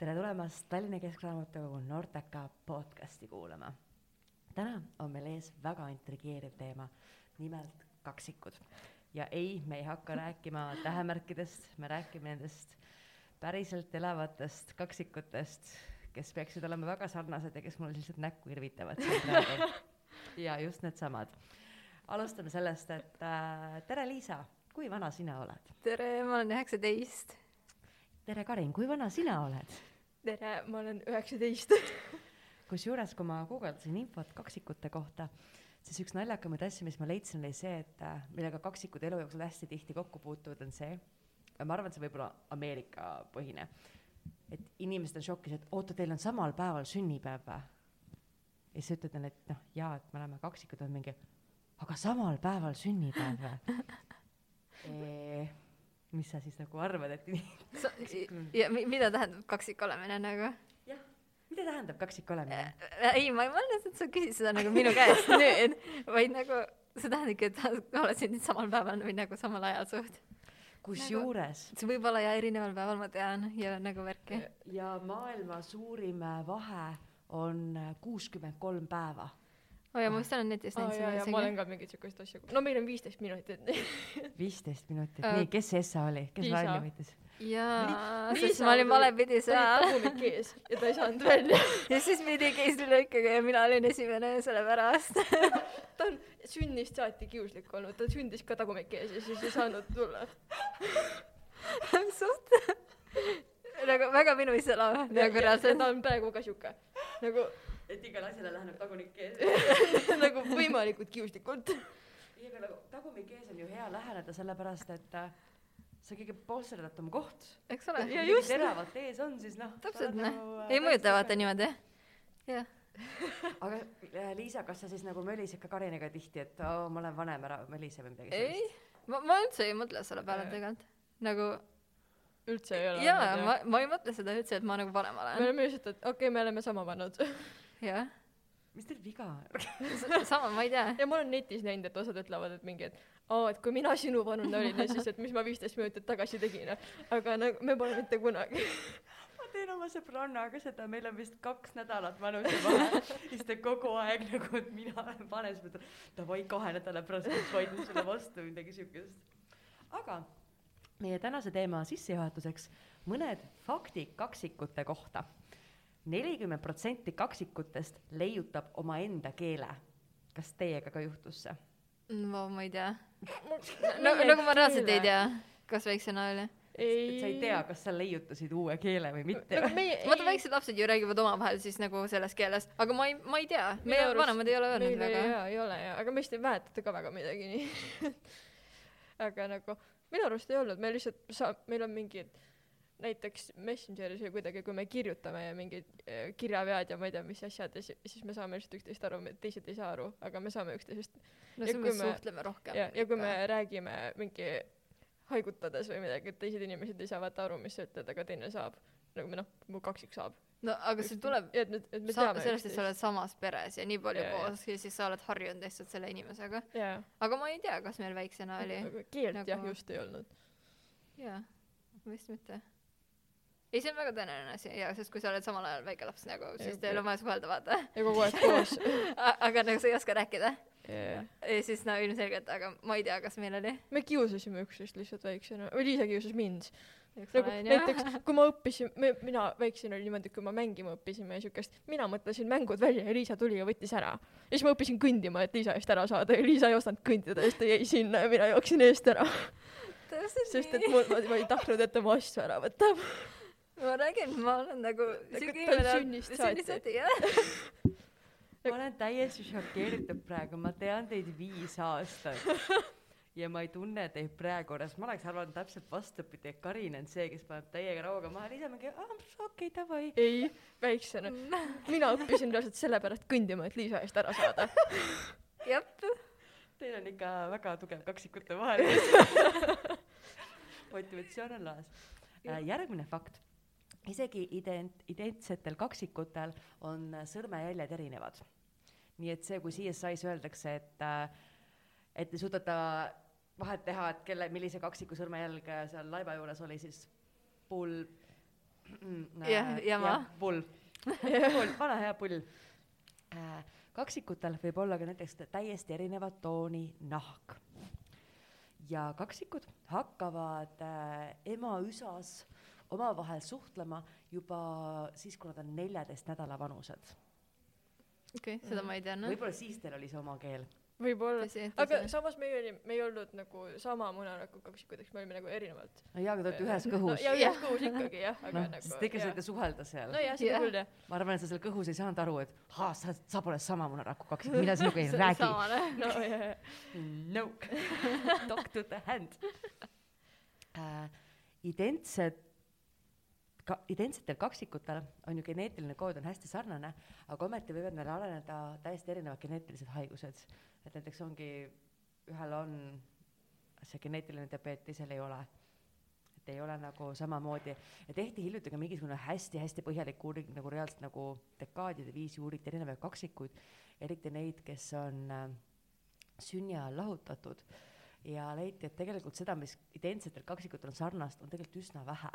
tere tulemast Tallinna Keskraamatukogu Nortaka podcasti kuulama. täna on meil ees väga intrigeeriv teema, nimelt kaksikud. ja ei, me ei hakka rääkima tähemärkidest, me räägime nendest päriselt elavatest kaksikutest, kes peaksid olema väga sarnased ja kes mulle lihtsalt näkku irvitavad siin praegu. ja just needsamad. alustame sellest, et äh, tere, Liisa, kui vana sina oled? tere , ma olen üheksateist . tere, Karin, kui vana sina oled? tere , ma olen üheksateist . kusjuures , kui ma guugeldasin infot kaksikute kohta , siis üks naljakamaid asju , mis ma leidsin , oli see , et äh, millega kaksikud elu jooksul hästi tihti kokku puutuvad , on see , ma arvan , et see võib olla Ameerika põhine , et inimesed on šokis , et oota , teil on samal päeval sünnipäev või ? ja siis ütled neile , et noh , jaa , et me oleme kaksikud , on mingi , aga samal päeval sünnipäev või ? mis sa siis nagu arvad , et ja mi- mida tähendab kaksik olemine nagu ? mida tähendab kaksik olemine ? ei , ma ei mõelnud , et sa küsid seda nagu minu käest nüüd , vaid nagu see tähendabki , et sa oled siin nüüd samal päeval või nagu samal ajal suht . kusjuures see võib olla ja erineval päeval ma tean ja nagu värki . Eh, ja maailma suurim äh, vahe on eh, kuuskümmend kolm päeva . oo jaa , ma vist olen netist aa näinud jaa , seda jaa , ma olen ka mingeid siukest asju , no meil on viisteist minutit , et viisteist minutit Äh, uh, , nii , kes see Essa oli , kes Liisa. välja võttis ? jaa , Li- sest Liisa ma olin tuli- valepidi ta seal oli tagumik ees ja ta ei saanud välja . ja siis mindi keisrilõikega ja mina olin esimene sellepärast . ta on sünnist saati kiuslik olnud , ta sündis ka tagumik ees ja siis ei saanud tulla . suht nagu väga minu iseloom nagu reaalselt ta on praegu ka siuke nagu , et igale asjale läheneb tagumik ees . nagu võimalikult kiuslikult . ei , aga nagu tagumik ees on ju hea läheneda , sellepärast et äh, see on kõige posterdad oma koht . eks ole Ja ja just. just . teravalt ees on , siis noh . täpselt noh ei mõjuta vaata . niimoodi jah aga äh, Liisa , kas sa siis nagu mölised ka Kariniga tihti , et oo , ma olen vanem , ära mölise või midagi ei ma ma üldse ei mõtle selle peale tegelikult nagu üldse ei ole . jaa ma ma ei mõtle seda üldse et ma nagu vanem me olen oleme lihtsalt , et okei okay, , me oleme sama vanad . jah mis teil viga on ? S- sama ma ei tea ja ma olen netis näinud , et osad ütlevad , et mingi , et aa , et kui mina sinu vanune olin , siis et mis ma viisteist minutit tagasi tegin . aga nagu me pole mitte kunagi . ma teen oma sõbrannaga seda , meil on vist kaks nädalat vanuse vahe , siis ta kogu aeg nagu , et mina olen vanem , siis ma ütlen davai kahe nädala pärast ma vaidlen sulle vastu või midagi siukest . aga meie tänase teema sissejuhatuseks mõned faktid kaksikute kohta . nelikümmend protsenti kaksikutest leiutab omaenda keele . kas teiega ka juhtus see ? ma ma ei tea nagu nagu ma reaalselt ei tea kas väiksena oli ei et sa ei tea , kas sa leiutasid uue keele või mitte nagu ? meie vaata väiksed lapsed ju räägivad omavahel siis nagu selles keeles aga ma ei ma ei tea meie vanemad ei ole öelnud väga jaa , ei ole jaa , aga me vist ei mäleta ka väga midagi nii . aga nagu minu arust ei olnud , me lihtsalt saa- , meil on mingid näiteks Messengeris või kuidagi , kui me kirjutame ja mingid eh, kirjavead ja ma ei tea , mis asjad ja si- siis me saame lihtsalt üksteist aru , me teised ei saa aru , aga me saame üksteisest no Ja siis kui me me- suhtleme rohkem ja , ja kui me räägime mingi haigutades või midagi , et teised inimesed ei saa vaata aru , mis sa ütled , aga teine saab . nagu me noh , mu kaksik saab . no aga see tuleb ja et me , et me sa- teame sellest , et sa oled samas peres ja nii palju Jaa, jaa. koos ja siis sa oled harjunud lihtsalt selle inimesega jaa , aga ma ei tea kas meil väiksena oli aga keelt Nagu- jah just ei olnud . jaa vist mitte ei see on väga tõenäoline asi jaa sest kui sa oled samal ajal väike laps nagu Ja siis kui- teil on vaja suhelda vaata ja kogu aeg koos A- aga nagu sa ei oska rääkida yeah. . ja siis no ilmselgelt aga ma ei tea kas meil oli me kiusasime üksteist lihtsalt väiksena , või Liisa kiusas mind . eks nagu ole onju näiteks , kui ma õppisin , mina väiksena oli niimoodi , et kui ma mängima õppisime ja siukest , mina mõtlesin mängud välja ja Liisa tuli ja võttis ära . ja siis ma õppisin kõndima , et Liisa eest ära saada ja Liisa ei osanud kõndida ja siis ta jäi sinna ja mina jooksin eest ära , täpselt sest et nii mul , ma, ma ei tahtnud , et tema asju ära võtab . ma räägin ma olen nagu siuke ta on inimene sünnist saati. sünnist saati jah ma olen täiesti šokeeritud praegu , ma tean teid viis aastat ja ma ei tunne teid praegu korras , ma oleks arvanud täpselt vastupidi , et Karin on see , kes paneb täiega rauaga maha , Liisa mingi "Ah, aa okei davai . ei , väiksena . mina õppisin reaalselt sellepärast kõndima , et Liisa eest ära saada . jep Teil on ikka väga tugev kaksikute vahel motivatsioon on laes . järgmine fakt , isegi ident- , identsetel kaksikutel on äh, sõrmejäljed erinevad . nii et see , kui CSI-s öeldakse , et äh, et ei suudeta vahet teha , et kelle , millise kaksiku sõrmejälg äh, seal laiba juures oli , siis pull , Jah, jama. pull , pull , vana hea pull äh, . kaksikutel võib olla ka näiteks tä- täiesti erineva tooni nahk . ja kaksikud hakkavad äh, emaüsas omavahel suhtlema juba siis , kui nad on neljateist nädala vanused . okei , seda ma ei teadnud . võib-olla siis teil oli see oma keel . võib-olla . tõsi , aga tõsi . samas meie olime , me ei olnud nagu sama munanaku kaksikudeks , me olime nagu erinevalt . no jaa , aga te olete ühes kõhus . ja Jah. ühes kõhus ikkagi jah , aga noh , nagu . sest te ikka saite suhelda seal . nojah , seda Jah. küll jah . ma arvan , et sa seal kõhus ei saanud aru , et haa , sa , sa pole sama munaraku kaksik , mina sinuga ei räägi . nojah , no talk to the hand äh, . identsed , ka identsetel kaksikutel on ju geneetiline kood on hästi sarnane , aga ometi võivad neil areneda täiesti erinevad geneetilised haigused . et näiteks ongi , ühel on see geneetiline diabeet , teisel ei ole et ei ole nagu samamoodi ja tehti hiljuti ka mingisugune hästi-hästi põhjalik uuring nagu reaalselt nagu dekaadide viisi uuriti erinevaid kaksikuid , eriti neid , kes on äh, sünni ajal lahutatud ja leiti , et tegelikult seda , mis identsetel kaksikutel on sarnast , on tegelikult üsna vähe .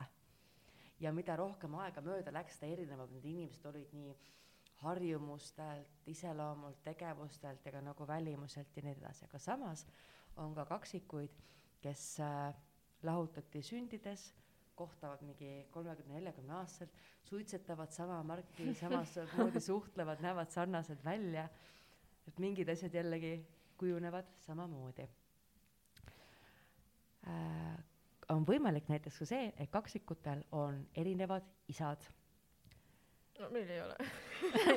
ja mida rohkem aega mööda läks , seda erinevad need inimesed olid nii harjumustelt , iseloomult , tegevustelt ja ka nagu välimuselt ja nii edasi , aga samas on ka kaksikuid , kes äh, lahutati sündides , kohtavad mingi kolmekümne , neljakümne aastaselt , suitsetavad sama marki , samamoodi suhtlevad , näevad sarnased välja . et mingid asjad jällegi kujunevad samamoodi äh, . on võimalik näiteks ka see , et kaksikutel on erinevad isad . no meil ei ole .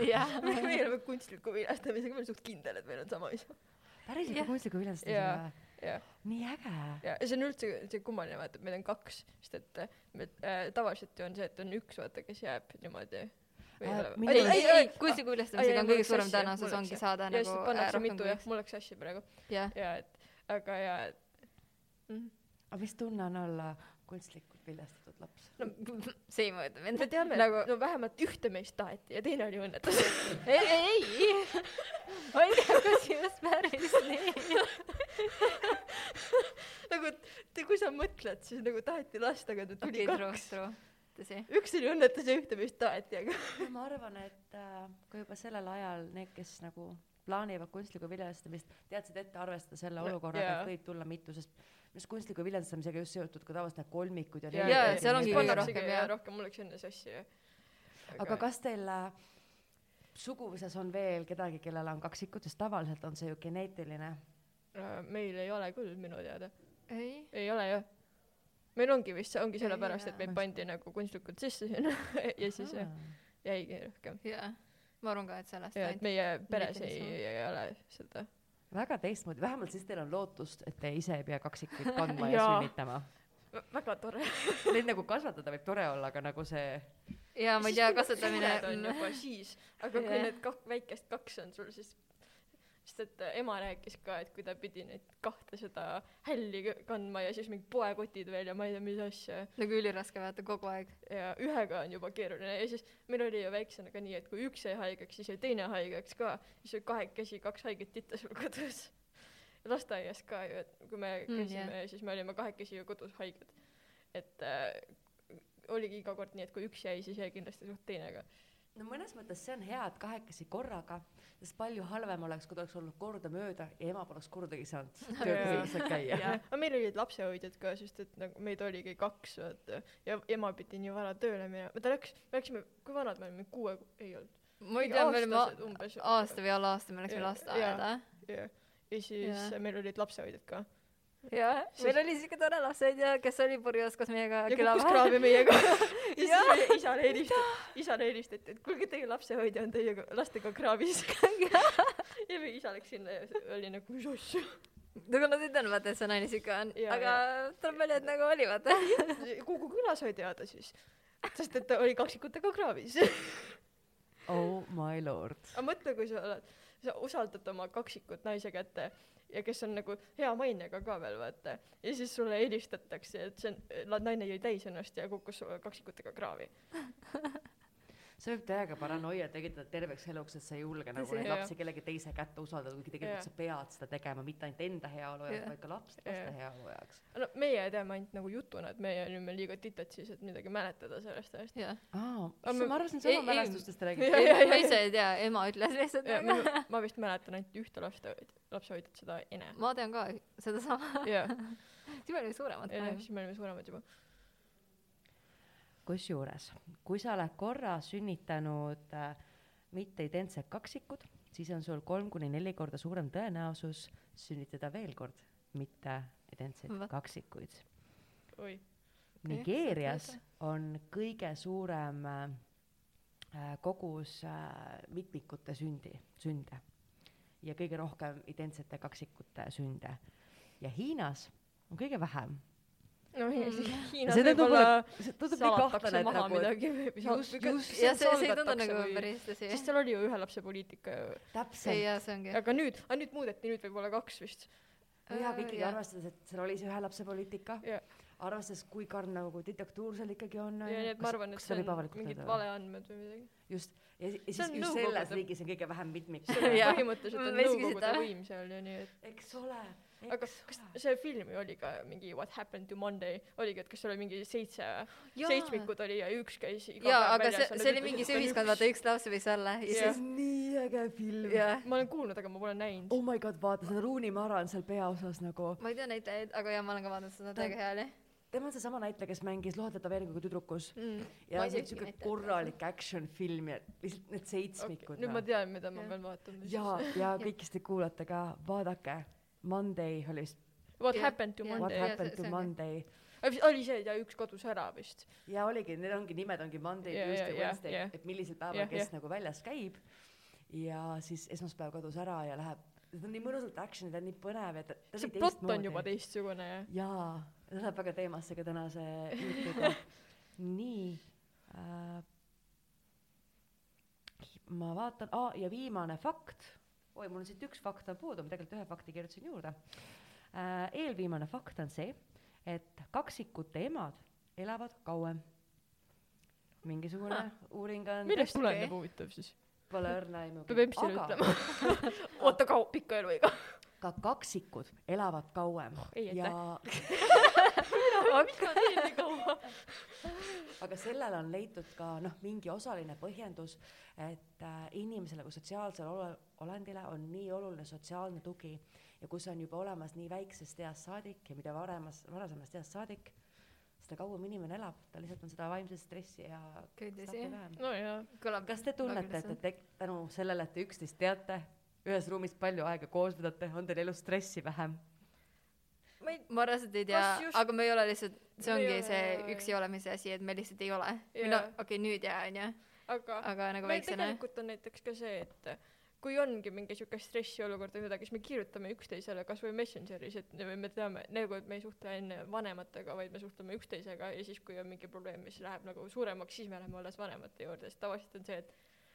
jah , meil oleme kunstliku viljastamisega , ma olen suht kindel , et meil on sama isa . päris ikka Jah. kunstliku Jaa, viljastamise . jah , nii äge . ja ja see on üldse , see kummaline vaata , et meil on kaks , sest et äh, me äh, tavaliselt ju on see , et on üks vaata , kes jääb niimoodi . Äh, minu- ei , ei , ei , kus kunstliku üllestamisega Ai, on mul kõige läks suurem sassi, tõenäosus mul läks ongi sassi. saada ah, ja siis nagu äh, pannakse rohkem mitu kui jah üks ., mul läks sassi praegu jah , ja et aga ja et mm. aga mis tunne on olla kunstlikult viljastatud laps ? see ei mõõda mind me . teame nagu... , no vähemalt ühte meist taheti ja teine oli õnnetus . ei , ei , ei . ma ei tea , kas just päris nii . nagu te , kui sa mõtled , siis nagu taheti last , aga ta tuli okei , okay, true , kaks . true . tõsi . üks oli õnnetus ja ühte meist taheti , aga no ma arvan , et äh, ka juba sellel ajal need , kes nagu plaanivad kunstlikku viljastamist , teadsid ette arvestada selle No, olukorraga , jaa. et võib tulla mitu , sest mis kunstliku viljastamisega just seotud ka tavaliselt need kolmikud ja äh, Jaa, neljad jaa, seal ongi need kõige asjad. rohkem, ja jah. rohkem , mul läks enne sassi ja . aga kas teil äh, suguvõsas on veel kedagi , kellel on kaksikud , sest tavaliselt on see ju geneetiline . äh, meil ei ole küll minu teada , ei . ei ole jah . meil ongi vist , see ongi Ei sellepärast , et ole. meid pandi nagu kunstlikult sisse sinna ja siis jah, jäigi rohkem . jaa , ma arvan ka , et sellest ja et ainult . meie peres Mitte ei, niisama. ei ole seda . väga teistmoodi , vähemalt siis teil on lootust , et te ise ei pea kaksikuid kandma ja Jaa. sünnitama . väga tore . Neid nagu kasvatada võib tore olla , aga nagu see jaa , ma ei tea , kasvatamine on on juba siis , aga kui Jah. need kak- , väikest kaks on sul , siis sest et äh, ema rääkis ka , et kui ta pidi neid kahte seda hälli kõ- kandma ja siis mingid poekotid veel ja ma ei tea , mis asja nagu üliraske vaata kogu aeg . ja ühega on juba keeruline ja siis meil oli ju väiksena ka nii , et kui üks jäi haigeks , siis jäi teine haigeks ka , siis oli kahekesi kaks haiget titta sul kodus . lasteaias ka ju , et kui me Mm, käisime mm, , yeah. siis me olime kahekesi ju kodus haiged . et äh, oligi iga kord nii , et kui üks jäi , siis jäi kindlasti suht teine ka . no mõnes mõttes see on hea , et kahekesi korraga , sest palju halvem oleks , kui ta oleks olnud kordamööda ja ema poleks kordagi saanud töötas lihtsalt käia . aga meil olid lapsehoidjad ka , sest et nagu meid oligi kaks , vaata , ja ema pidi nii vara tööle minema , ta läks , me läksime , kui vanad me olime , kuue , ei olnud . ma ei tea , me olime Aastased umbes. a- aasta või alla aasta , me läksime Jaa, lasteaeda . jah , ja siis Jaa. yeah. meil olid lapsehoidjad ka . jah , Siis- meil oli siuke tore lapsehoidja , kes oli purjus koos meiega ja küla kukkus vahel . kraavi meiega . ja siis Jah. meie isale helistati , isale helistati , et kuulge , teie lapsehoidja on teiega , lastega kraavis . ja meie isa läks sinna ja see oli nagu , mis asja . nagu nad ei teadnud , vaata , et see naine siuke on , Jaa, aga tuleb välja , et nagu oli , vaata . kogu küla sai teada siis , sest et ta oli kaksikutega kraavis . Oh my lord . aga mõtle , kui sa oled , sa usaldad oma kaksikut naise kätte ja kes on nagu hea mainega ka veel vaata ja siis sulle helistatakse , et see on , naine jõi täis ennast ja kukkus kaksikutega kraavi . see võib täiega paranoia tekitada terveks eluks, et sa ei julge nagu Tõsi, neid jah. lapsi kellegi teise kätte usaldada , kuigi tegelikult Jah. sa pead seda tegema mitte ainult enda heaolu Jah. jaoks , vaid ka laps , Jah. laste heaolu jaoks . no meie teeme ainult nagu jutuna , et meie olime liiga titad siis , et midagi mäletada sellest ajast . jah . aa , Aga me- ma arvasin , ei- sama ei- mälestustest räägid . Jah, jah, ma jah. ise ei tea , ema ütles lihtsalt . nagu. ma vist mäletan ainult ühte laste , lapsehoidjat , seda Ene . ma tean ka sedasama . jah , siis me olime suuremad Ene , praegu . siis me olime suuremad juba . kusjuures , kui sa oled korra sünnitanud äh, mitteidentsed kaksikud , siis on sul kolm kuni neli korda suurem tõenäosus sünnitada veel kord mitteidentseid Vot. kaksikuid . oi , Okei, Nigeerias saad on kõige suurem äh, äh, kogus äh, mitmikute sündi , sünde ja kõige rohkem identsete kaksikute sünde ja Hiinas on kõige vähem . no Mm. Hiinas Ja Hiinas see tundub , võib-olla et see tundub nii kahtlane , salatakse et maha nagu , et midagi või mis just- just- jah , see , see ei tundu nagu . päris tõsi . sest seal oli ju ühe lapse poliitika ju , täpselt see jah , see ongi . aga nüüd , aga nüüd muudeti , nüüd võib olla kaks vist . no jaa , aga ikkagi Jah. arvestades , et seal oli see ühe lapse poliitika äh, Jah. , arvestades , kui karm nagu diktatuur seal ikkagi on , ja nii , et ma arvan , et see on mingid . valeandmed või midagi . just , ja si- ja See siis on just nõukogude- selles riigis on kõige vähem mitmik , see on Jah. põhimõtteliselt on Ma viskasin nõukogude tähele. võim seal ja nii , et eks ole , aga eks kas see film ju oli ka mingi What happened to Monday oligi , et kas seal oli mingi seitse , Jaa. seitsmikud oli ja üks käis iga jaa , päev aga see väljas ja , nad see oli ütlesid, mingi et see on nagu ühiskond , üks. vaata üks laps võis olla ja see siis on nii äge film . jah . ma olen kuulnud , aga ma pole näinud oh my god , vaata , see Rooney Mara on seal peaosas nagu , ma ei tea näitlejaid , aga jaa , ma olen ka vaadanud seda , Ta- täiega hea oli . tema on seesama näitleja , kes mängis Lohdetaveeringuga tüdrukus ja Ma ei see on teagi siuke näitlejat. korralik action film ja lihtsalt need seitsmikud okay, . nüüd ma tean , mida ma Jah. pean vaatama siis . ja , ja kõik , kes te kuulate ka , vaadake , Monday oli vist What Jah. happened to Jah. What Monday Jaa, . see- happened to see on- Monday oli see , et ja üks kadus ära vist . ja oligi , need ongi nimed ongi Monday Ja, yeah, , Tuesday ja, yeah, , ja, Wednesday ja. yeah, , et millisel päeval Jah, yeah, kes jah. yeah. nagu väljas käib . ja siis esmaspäev kadus ära ja läheb , see on nii mõnusalt action'i , ta on nii põnev ja ta , ta see plott on juba . teistsugune ja jaa , ta läheb väga teemasse ka tänase jutuga . nii äh, . ma vaatan ah, , ja viimane fakt , oi , mul on siit üks fakt on puudu , ma tegelikult ühe fakti kirjutasin juurde äh, . eelviimane fakt on see , et kaksikute emad elavad kauem . mingisugune Ah. uuring on , millest Okei. tuleneb huvitav siis ? pole õrna aimu . peab EMS-ile ütlema . oota , kaua , pikka eluiga . ka kaksikud elavad kauem ei, aitäh. ja , miks ma tegin nii kaua ? aga sellele on leitud ka noh , mingi osaline põhjendus , et äh, inimesele kui sotsiaalsele ole, olendile on nii oluline sotsiaalne tugi ja kui see on juba olemas nii väiksest east saadik ja mida varemas , varasemast east saadik , seda kauem inimene elab , tal lihtsalt on seda vaimset stressi ja tõsi stressi vähem . no jaa . kõlab kas te tunnete , et te tek- , tänu sellele , et te üksteist teate , ühes ruumis palju aega koos vedate , on teil elus stressi vähem ? ma ei , ma reaalselt ei tea Kas , just- aga me ei ole lihtsalt , see Me ei ongi ole, see jaa, jaa. üksi olemise asi , et me lihtsalt ei ole . või Jaa. noh , okei okay, , nüüd ja onju , aga aga nagu meil väiksena . tegelikult on näiteks ka see , et äh, kui ongi mingi sihuke stressiolukord või midagi , siis me kirjutame üksteisele kasvõi Messengeris , et me me teame nagu , et me ei suhtle enne vanematega , vaid me suhtleme üksteisega ja siis , kui on mingi probleem , mis läheb nagu suuremaks , siis me läheme alles vanemate juurde , sest tavaliselt on see , et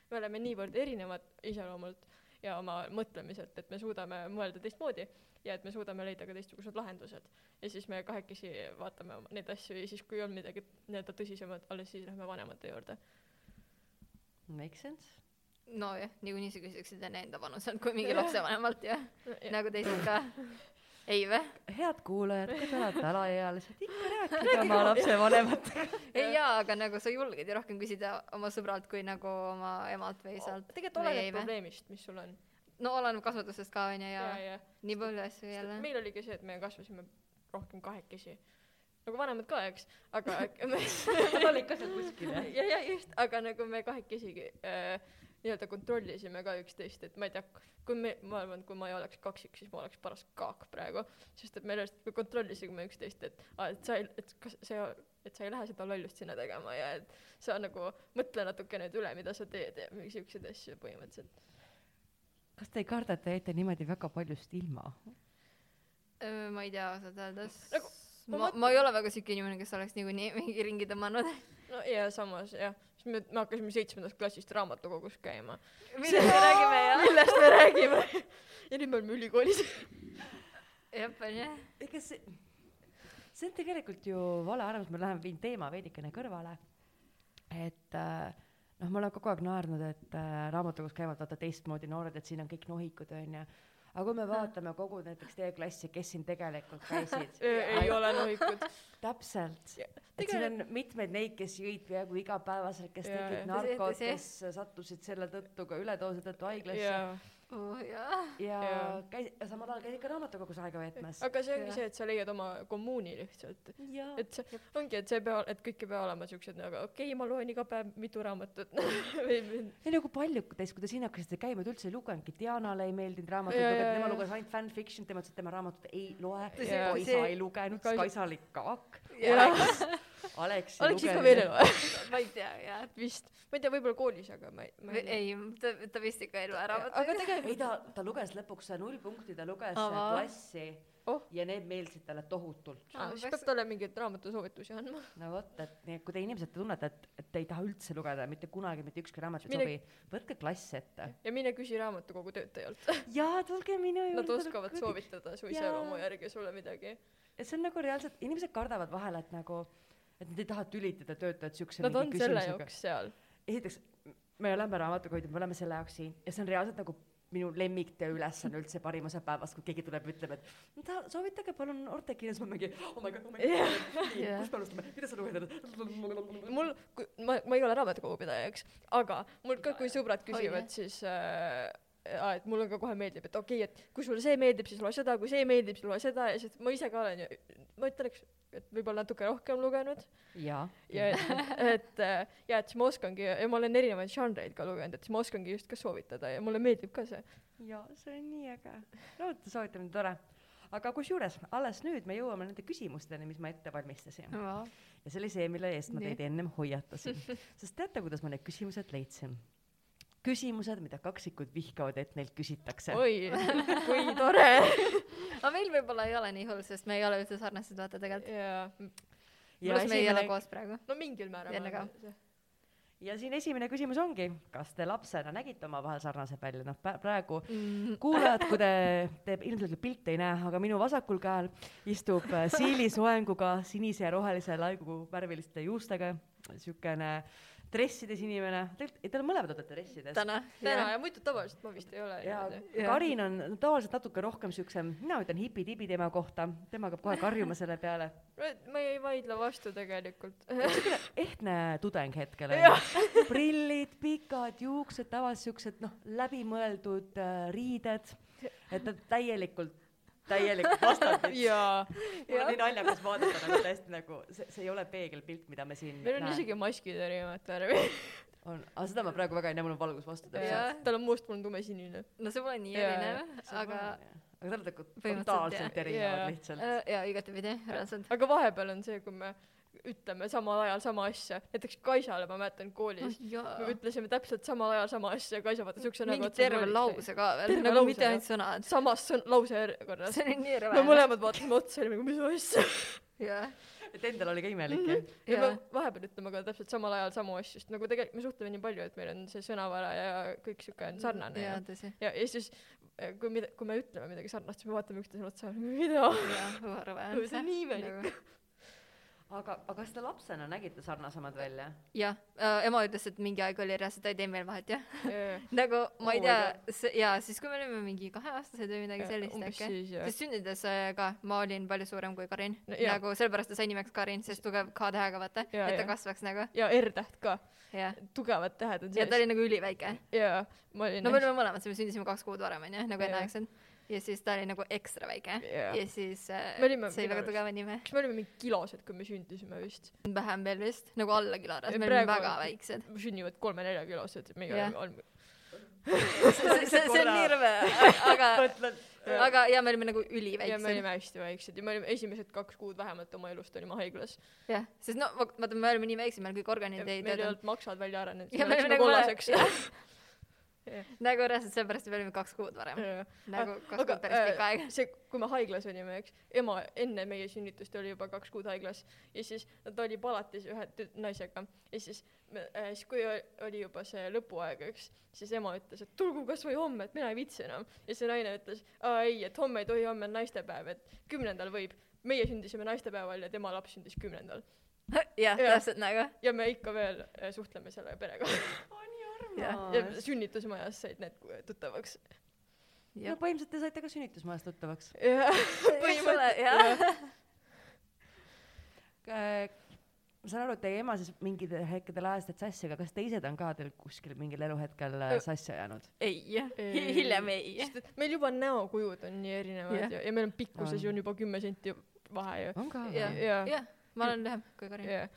me oleme niivõrd erinevad iseloomult ja oma mõtlemiselt , et me suudame mõelda teistmoodi ja et me suudame leida ka teistsugused lahendused . ja siis me kahekesi vaatame oma- neid asju ja siis , kui on midagi nii-öelda tõsisemat , alles siis lähme vanemate juurde . Make sense ? nojah , niikuinii sa küsiksid enne enda vanuselt , kui mingi lapsevanemalt ja nagu teised ka . ei või ? head kuulajad , kui te olete alaealised , ikka rääkige oma lapsevanematega . ei jaa , aga nagu sa julged ju rohkem küsida oma sõbralt kui nagu oma emalt või isalt . tegelikult oleneb . probleemist , mis sul on . no oleneb kasvatusest ka onju ja ja , ja, nii palju asju ja. jälle . meil oligi see , et me kasvasime rohkem kahekesi . nagu vanemad ka , eks , aga me , Nad olid ka seal kuskil jah ? ja , ja just , aga nagu me kahekesi äh, nii-öelda kontrollisime ka üksteist , et ma ei tea , kui me , ma arvan , et kui ma ei oleks kaksik , siis ma oleks paras kaak praegu , sest et me ennast me kontrollisime üksteist , et aa , et sa ei , et kas see , et sa ei lähe seda lollust sinna tegema ja et sa nagu mõtle natuke nüüd üle , mida sa teed ja mingi siukseid asju põhimõtteliselt . kas te ei karda , et te jäite niimoodi väga paljust ilma ? ma ei tea ausalt öeldes Nagu, . ma ma , mõtlen- ma ei ole väga siuke inimene , kes oleks niikuinii mingi ringi tõmmanud . no ja samas jah , siis me , me hakkasime seitsmendast klassist raamatukogus käima . millest me räägime jah ? millest me räägime ? ja nüüd me oleme ülikoolis . jah , onju . ega see , see on tegelikult ju vale arvamus , ma lähen viin teema veidikene kõrvale . et äh, noh , ma olen kogu aeg naernud , et äh, raamatukogus käivad vaata teistmoodi noored , et siin on kõik nohikud onju . aga kui me vaatame kogu näiteks teie klassi , kes siin tegelikult käisid , ei ole nohikud . täpselt . Ja, et siin on mitmeid neid , kes jõid peaaegu igapäevaselt , kes Jaa, tegid jah. narkot , Tõsi, kes sattusid selle tõttu ka üledoosi tõttu haiglasse oo Oh, jaa . ja Jaa. käis , samal ajal käis ikka raamatukogus aega veetmas . aga see ongi Jah. see , et sa leiad oma kommuuni lihtsalt . jaa , et see ongi , et see ei pea , et kõik ei pea olema siuksed nagu okei okay, , ma loen iga päev mitu raamatut või või- ei nagu paljud teist , kui te siin hakkasite käima , te üldse ei lugenudki , Dianale ei meeldinud raamatuid Jaa, lugeda , jaa, tema jaa. luges ainult fanfiction'it , tema ütles , et tema raamatut ei loe . Tõsi, Kaisa see- ei lugenud , Kaisa- Kaisa oli kaak . jaa , Aleks . oleks ikka veel elu , ma ei tea jaa . vist . ma ei tea , võib-olla koolis , aga ma ei , ma ei . ei , ta , ta vist ikka elu ära aga võtab . ei tegelikult ta , ta luges lõpuks see null punkti , ta luges Ava. Ava. klassi Oh. ja need meeldisid talle tohutult . ah, , siis peab talle mingeid raamatusoovitusi andma . no vot , et nii , et kui te inimesed te tunnete , et , et te ei taha üldse lugeda mitte kunagi mitte ükski raamat ei Mine- sobi , võtke klass ette . ja mine küsi raamatukogu töötajalt . jaa , tulge minu juurde . Nad oskavad . soovitada su iseloomu järgi sulle midagi . et see on nagu reaalselt , inimesed kardavad vahel , et nagu , et nad ei taha tülitada töötajat siukse . Nad on selle . jaoks seal . esiteks , me oleme raamatukogu , me oleme selle jaoks siin ja see on reaalselt nagu minu lemmiktöö ülesanne üldse parim osa päevast , kui keegi tuleb ja ütleb , et "No ta , soovitage palun Ortekile , siis ma mingi oh my god , oh my god , kust me alustame , mida sa lugenud ? mul , ma , ma ei ole raamatukogupidaja , eks , aga mul ka , kui sõbrad Oi, küsivad , siis äh, aa, et mulle ka kohe meeldib , et okei okay, , et kui sulle see meeldib , siis loe seda , kui see meeldib , siis loe seda ja siis ma ise ka olen ju , ma ütleks , et võib-olla natuke rohkem lugenud jaa . ja et , et äh, ja et siis ma oskangi ja ma olen erinevaid žanreid ka lugenud , et siis ma oskangi just ka soovitada ja mulle meeldib ka see . jaa , see on nii äge . no vot , soovitamine on tore . aga kusjuures alles nüüd me jõuame nende küsimusteni , mis ma ette valmistasin . ja see oli see , mille eest ma Nii. teid ennem hoiatasin . sest teate , kuidas ma need küsimused leidsin ? küsimused , mida kaksikud vihkavad , et neilt küsitakse . oi , kui tore . aga meil võib-olla ei ole nii hull , sest me ei ole üldse sarnased , vaata tegelikult . jaa , pluss me ei ole koos praegu . no mingil määral . Jälle ka. . ja siin esimene küsimus ongi , kas te lapsena nägite omavahel sarnased välja , noh pä- praegu Mm, kuulajad , kui te , te ilmselt pilti ei näe , aga minu vasakul käel istub äh, siili soenguga sinise ja rohelise laigu värviliste juustega siukene dressides inimene , tegelikult , ei te mõlemad olete dressides . täna . täna ja muidu tavaliselt ma vist ei ole . ja Jaa. Karin on tavaliselt natuke rohkem siukse , mina ütlen hipi-tibi tema kohta , tema hakkab kohe karjuma selle peale . No ma ei vaidle vastu tegelikult . ehtne tudeng hetkel Jah. onju , prillid , pikad juuksed , tavaliselt siuksed noh , läbimõeldud äh, riided , et ta täielikult , täielikult vastab . jaa , mul on nii naljakas vaadata nagu täiesti nagu see , see ei ole peegelpilt , mida me siin meil on isegi maskid erinevat värvi . on , aga seda ma praegu väga ei näe , mul on valgus vastu Jaa. täpselt . tal on must , mul on tumesinine . no see pole nii Jaa, erinev , aga aga te olete nagu Põhimõtteliselt totaalselt jah. erinevad Jaa. lihtsalt . äh, jaa , igatepidi , reaalselt . aga vahepeal on see , kui me ütleme samal ajal sama asja , näiteks Kaisale ma mäletan koolis , me Noh, jaa . ütlesime täpselt samal ajal sama asja , Kaisa vaatas siukse näoga mingi terve . lause ka veel , Terve nagu lause, mitte jah. ainult sõnad . samas sõn- , lause järjekorras . see oli nii me rõve . mõlemad vaatasime otsa ja olime nagu , mis asja . jaa , et endal oli ka imelik jah ? ja me jaa . vahepeal ütleme ka täpselt samal ajal samu asju , sest nagu tegelikult me suhtleme nii palju , et meil on see sõnavara ja kõik siuke on sarnane ja jaa , tõsi . ja , ja siis eh, kui mida- , kui me ütleme midagi sarnast , siis me vaatame üksteisele otsa , mida , jaa , rõve Nagu, on Oh. see on nii imelik . aga , aga kas te lapsena nägite sarnasemad välja ? jah , Äh, ema ütles , et mingi aeg oli reaalselt , ta ei tee meil vahet , jah . jah , nagu ma Oh ei my tea , see jaa , siis kui me olime mingi kaheaastased või midagi sellist umbes äkki . siis jah . sest sündides äh, ka ma olin palju suurem kui Karin No no, , jaa. nagu sellepärast ta sai nimeks Karin , sest tugev K tähega vaata , Jaa, et ta jaa. kasvaks nagu ja R-täht ka , ja , tugevad tähed on ja ta sees . oli nagu üliväike . ja ma olin no me olime mõlemad , me sündisime kaks kuud varem onju , nagu Jaa. enneaegselt ja siis ta oli nagu ekstra väike Jaa. ja siis äh, Me olime sai minu väga arust- tugeva nime , kas me olime mingi kilosed , kui me sündisime vist ? vähem veel vist nagu alla kiloras , Ja me olime praegu- väga väiksed . sünnivad kolme-nelja kilosed , meie Jah. olime , olime , see see- see on nii rõve , aga , mõtlen . aga ja me olime nagu ja me üliväiksed olime hästi väiksed ja me olime esimesed kaks kuud vähemalt oma elust olime haiglas . jah , sest no va- vaata , me olime nii väiksed , meil kõik organid ei meil ei töötanud . olnud maksad välja arenenud , Ja siis me me läksime olime nagu kollaseks . nagu reaalselt sellepärast , et me olime kaks kuud varem , Ah, nagu kaks kuud päris pikka aega . see , kui me haiglas olime , eks , ema enne meie sünnitust oli juba kaks kuud haiglas ja siis ta oli palatis ühe tü- naisega ja siis me , siis kui o- oli juba see lõpuaeg , eks , siis ema ütles , et tulgu kasvõi homme , et mina ei viitsi enam . ja see naine ütles , aa ei , et homme ei tohi , homme on naistepäev , et kümnendal võib . meie sündisime naistepäeval ja tema laps sündis kümnendal jah , Jah. täpselt nagu . ja me ikka veel äh, suhtleme selle perega . Jah. no ja sünnitusmajas said need tuttavaks . jah. põhimõtteliselt te saite ka sünnitusmajas tuttavaks . põhimõtteliselt jah . Äh, ma saan aru , et teie ema siis mingitel hetkedel ajas teid sassi , aga kas teised on ka teil kuskil mingil eluhetkel äh, Ö- sassi ajanud ? ei , Ei. hiljem ei . sest et meil juba näokujud on nii erinevad Jah. ja, ja meil on pikkuses On. ju on juba kümme senti vahe ju . on ka Jah. või ? ja , jah , ma olen lühem kui Karin , ja .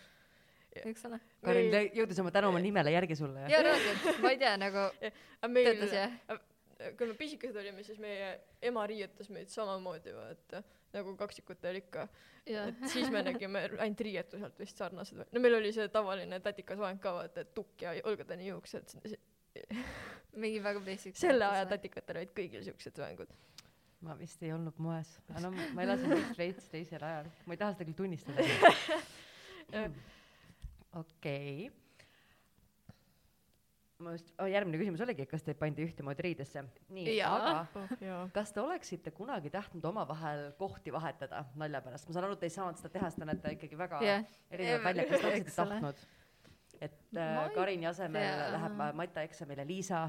eks ole . Karin , ta jõudis oma tänu oma nimele järgi sulle , ja raadiot , ma ei tea , nagu aga meil töötas , jah . kui me pisikesed olime , siis meie ema riietas meid samamoodi vaata , nagu kaksikutel ikka . jah et siis me nägime ainult riietuselt vist sarnased . no meil oli see tavaline tätikas vahend ka vaata , et tukk ja õlgadeni juuksed . mingi väga basic . selle aja . tätikatel olid kõigil siuksed vahengud . ma vist ei olnud moes , aga no ma elasin vist veits teisel ajal , ma ei taha seda küll tunnistada . okei . ma just , järgmine küsimus oligi , kas teid pandi ühtemoodi riidesse ? nii , Jaa. aga jaa . kas te oleksite kunagi tahtnud omavahel kohti vahetada nalja pärast , ma saan aru , et te ei saanud seda teha , sest te näete ikkagi väga jah , erinevad Ever. väljad , kas te oleksite Eks ole. tahtnud ? et Ma äh, ei Karini asemel tea. läheb äh, Mati eksamile Liisa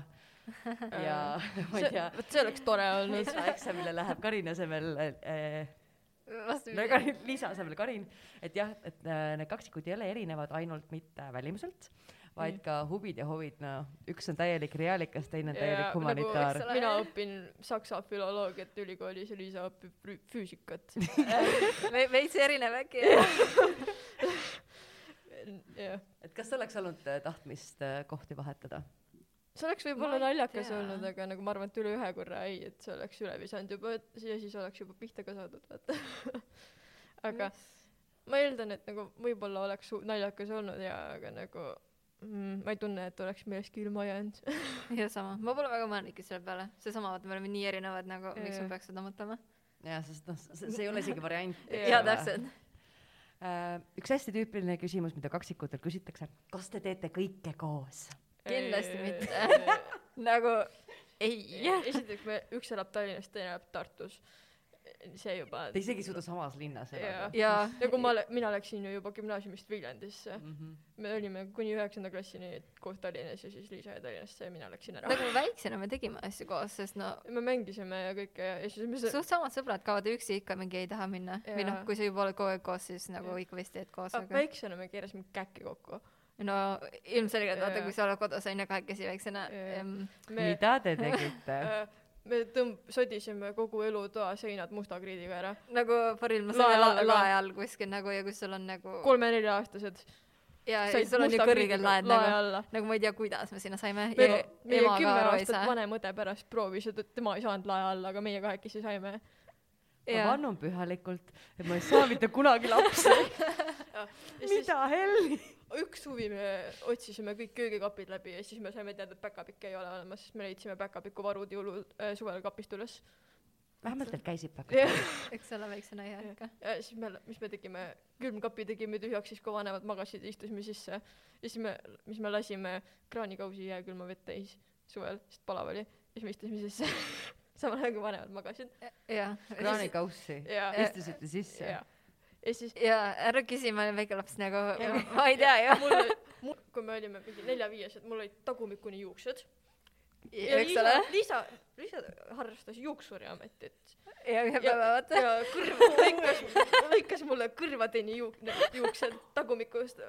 ja ma ei tea , vot see oleks tore olnud . Liisa eksamile läheb Karini asemel äh, no Nagu vastupidi . Karin , Liisa asemel Karin , et jah , et äh, need kaksikud ei ole erinevad ainult mitte välimuselt , vaid Mm. ka huvid ja hovid , no üks on täielik reaalikas , teine on täielik nagu humanitaar . nagu, ole. mina õpin saksa filoloogiat ülikoolis ja Liisa õpib fü- füüsikat . veits erinev äkki . jah , et kas oleks olnud äh, tahtmist äh, kohti vahetada ? see oleks võib-olla Ma ei naljakas tea. olnud , aga nagu ma arvan , et üle ühe korra ei , et see oleks üle visanud juba et- ja siis oleks juba pihta ka saadud , vaata . Mm. aga ma eeldan , et nagu võib-olla oleks su- naljakas olnud ja , aga nagu mm, ma ei tunne , et oleks millestki ilma jäänud . ja sama , ma pole väga mõelnudki selle peale , seesama , et me oleme nii erinevad nagu , miks Jaa. ma peaks seda mõtlema . jah , sest noh , see see ei ole isegi variant . Jaa. jaa , täpselt . üks hästi tüüpiline küsimus , mida kaksikutelt küsitakse . kas te teete kõike koos ? Kindlasti mitte. nagu ei . esiteks me , üks elab Tallinnas , teine elab Tartus . see juba . Te isegi ei suuda samas linnas elada . jaa , nagu ma , mina läksin ju juba gümnaasiumist Viljandisse , jah , me olime kuni üheksanda klassini koos Tallinnas ja siis Liisa ja Tallinnasse ja mina läksin ära . nagu väiksena me tegime asju koos , sest no me mängisime ja kõike ja siis me suht samad sõbrad kaovad üksi ikka mingi ei taha minna või noh Jaa. , kui sa juba oled kogu aeg koos , siis nagu Jah. ikka vist teed koos , Ah, aga väiksena me keerasime käki kokku . no ilmselgelt vaata , Jaa. kui sa oled kodus on ju kahekesi väiksena Jaa. ähm, me , mida te tegite ? me tõmb- , sodisime kogu elutoa seinad musta kriidiga ära . nagu paril ma Lae sain lae all ka. lae all kuskil nagu ja kui sul on nagu kolme-nelja-aastased ja , ja said sul on ju musta kriidiga kõrgel laed lae nagu alla . nagu ma ei tea , kuidas me sinna saime E- meil , meie ema kümme ka aru ei aastat saa . vanem õde pärast proovis ja ta- tema ei saanud lae alla , aga meie kahekesi saime . ma jaa , vannun pühalikult , et ma ei saa mitte kunagi lapsi . mida helli ? üks suvi me otsisime kõik köögikapid läbi ja siis me saime teada , et päkapikke ei ole olemas , siis me leidsime päkapiku varud jõulu äh, suvel kapist üles . vähemalt teil käisib väga . ja eks ole väiksena hea ikka . ja siis me , mis me tegime , külmkapi tegime tühjaks siis , kui vanemad magasid , istusime sisse . ja siis me , mis me lasime kraanikausi jääkülma vett täis suvel , sest palav oli . ja siis me istusime sisse . samal ajal kui vanemad magasid . jaa . kraanikaussi , ja , istusite Äh, sisse ja , ja siis jaa , ära küsi , ma olen väike laps nagu Jaa. , ma ei tea ju . mul oli , mul , kui me olime mingi nelja-viiesed , mul olid tagumikuni juuksed . ja eks ole Liisa ,, Liisa , Liisa harrastas juuksuriametit . ja ühe päeva vaata . ja kõrva lõikas , lõikas mulle kõrvadeni juuk- , juuksed tagumikust ,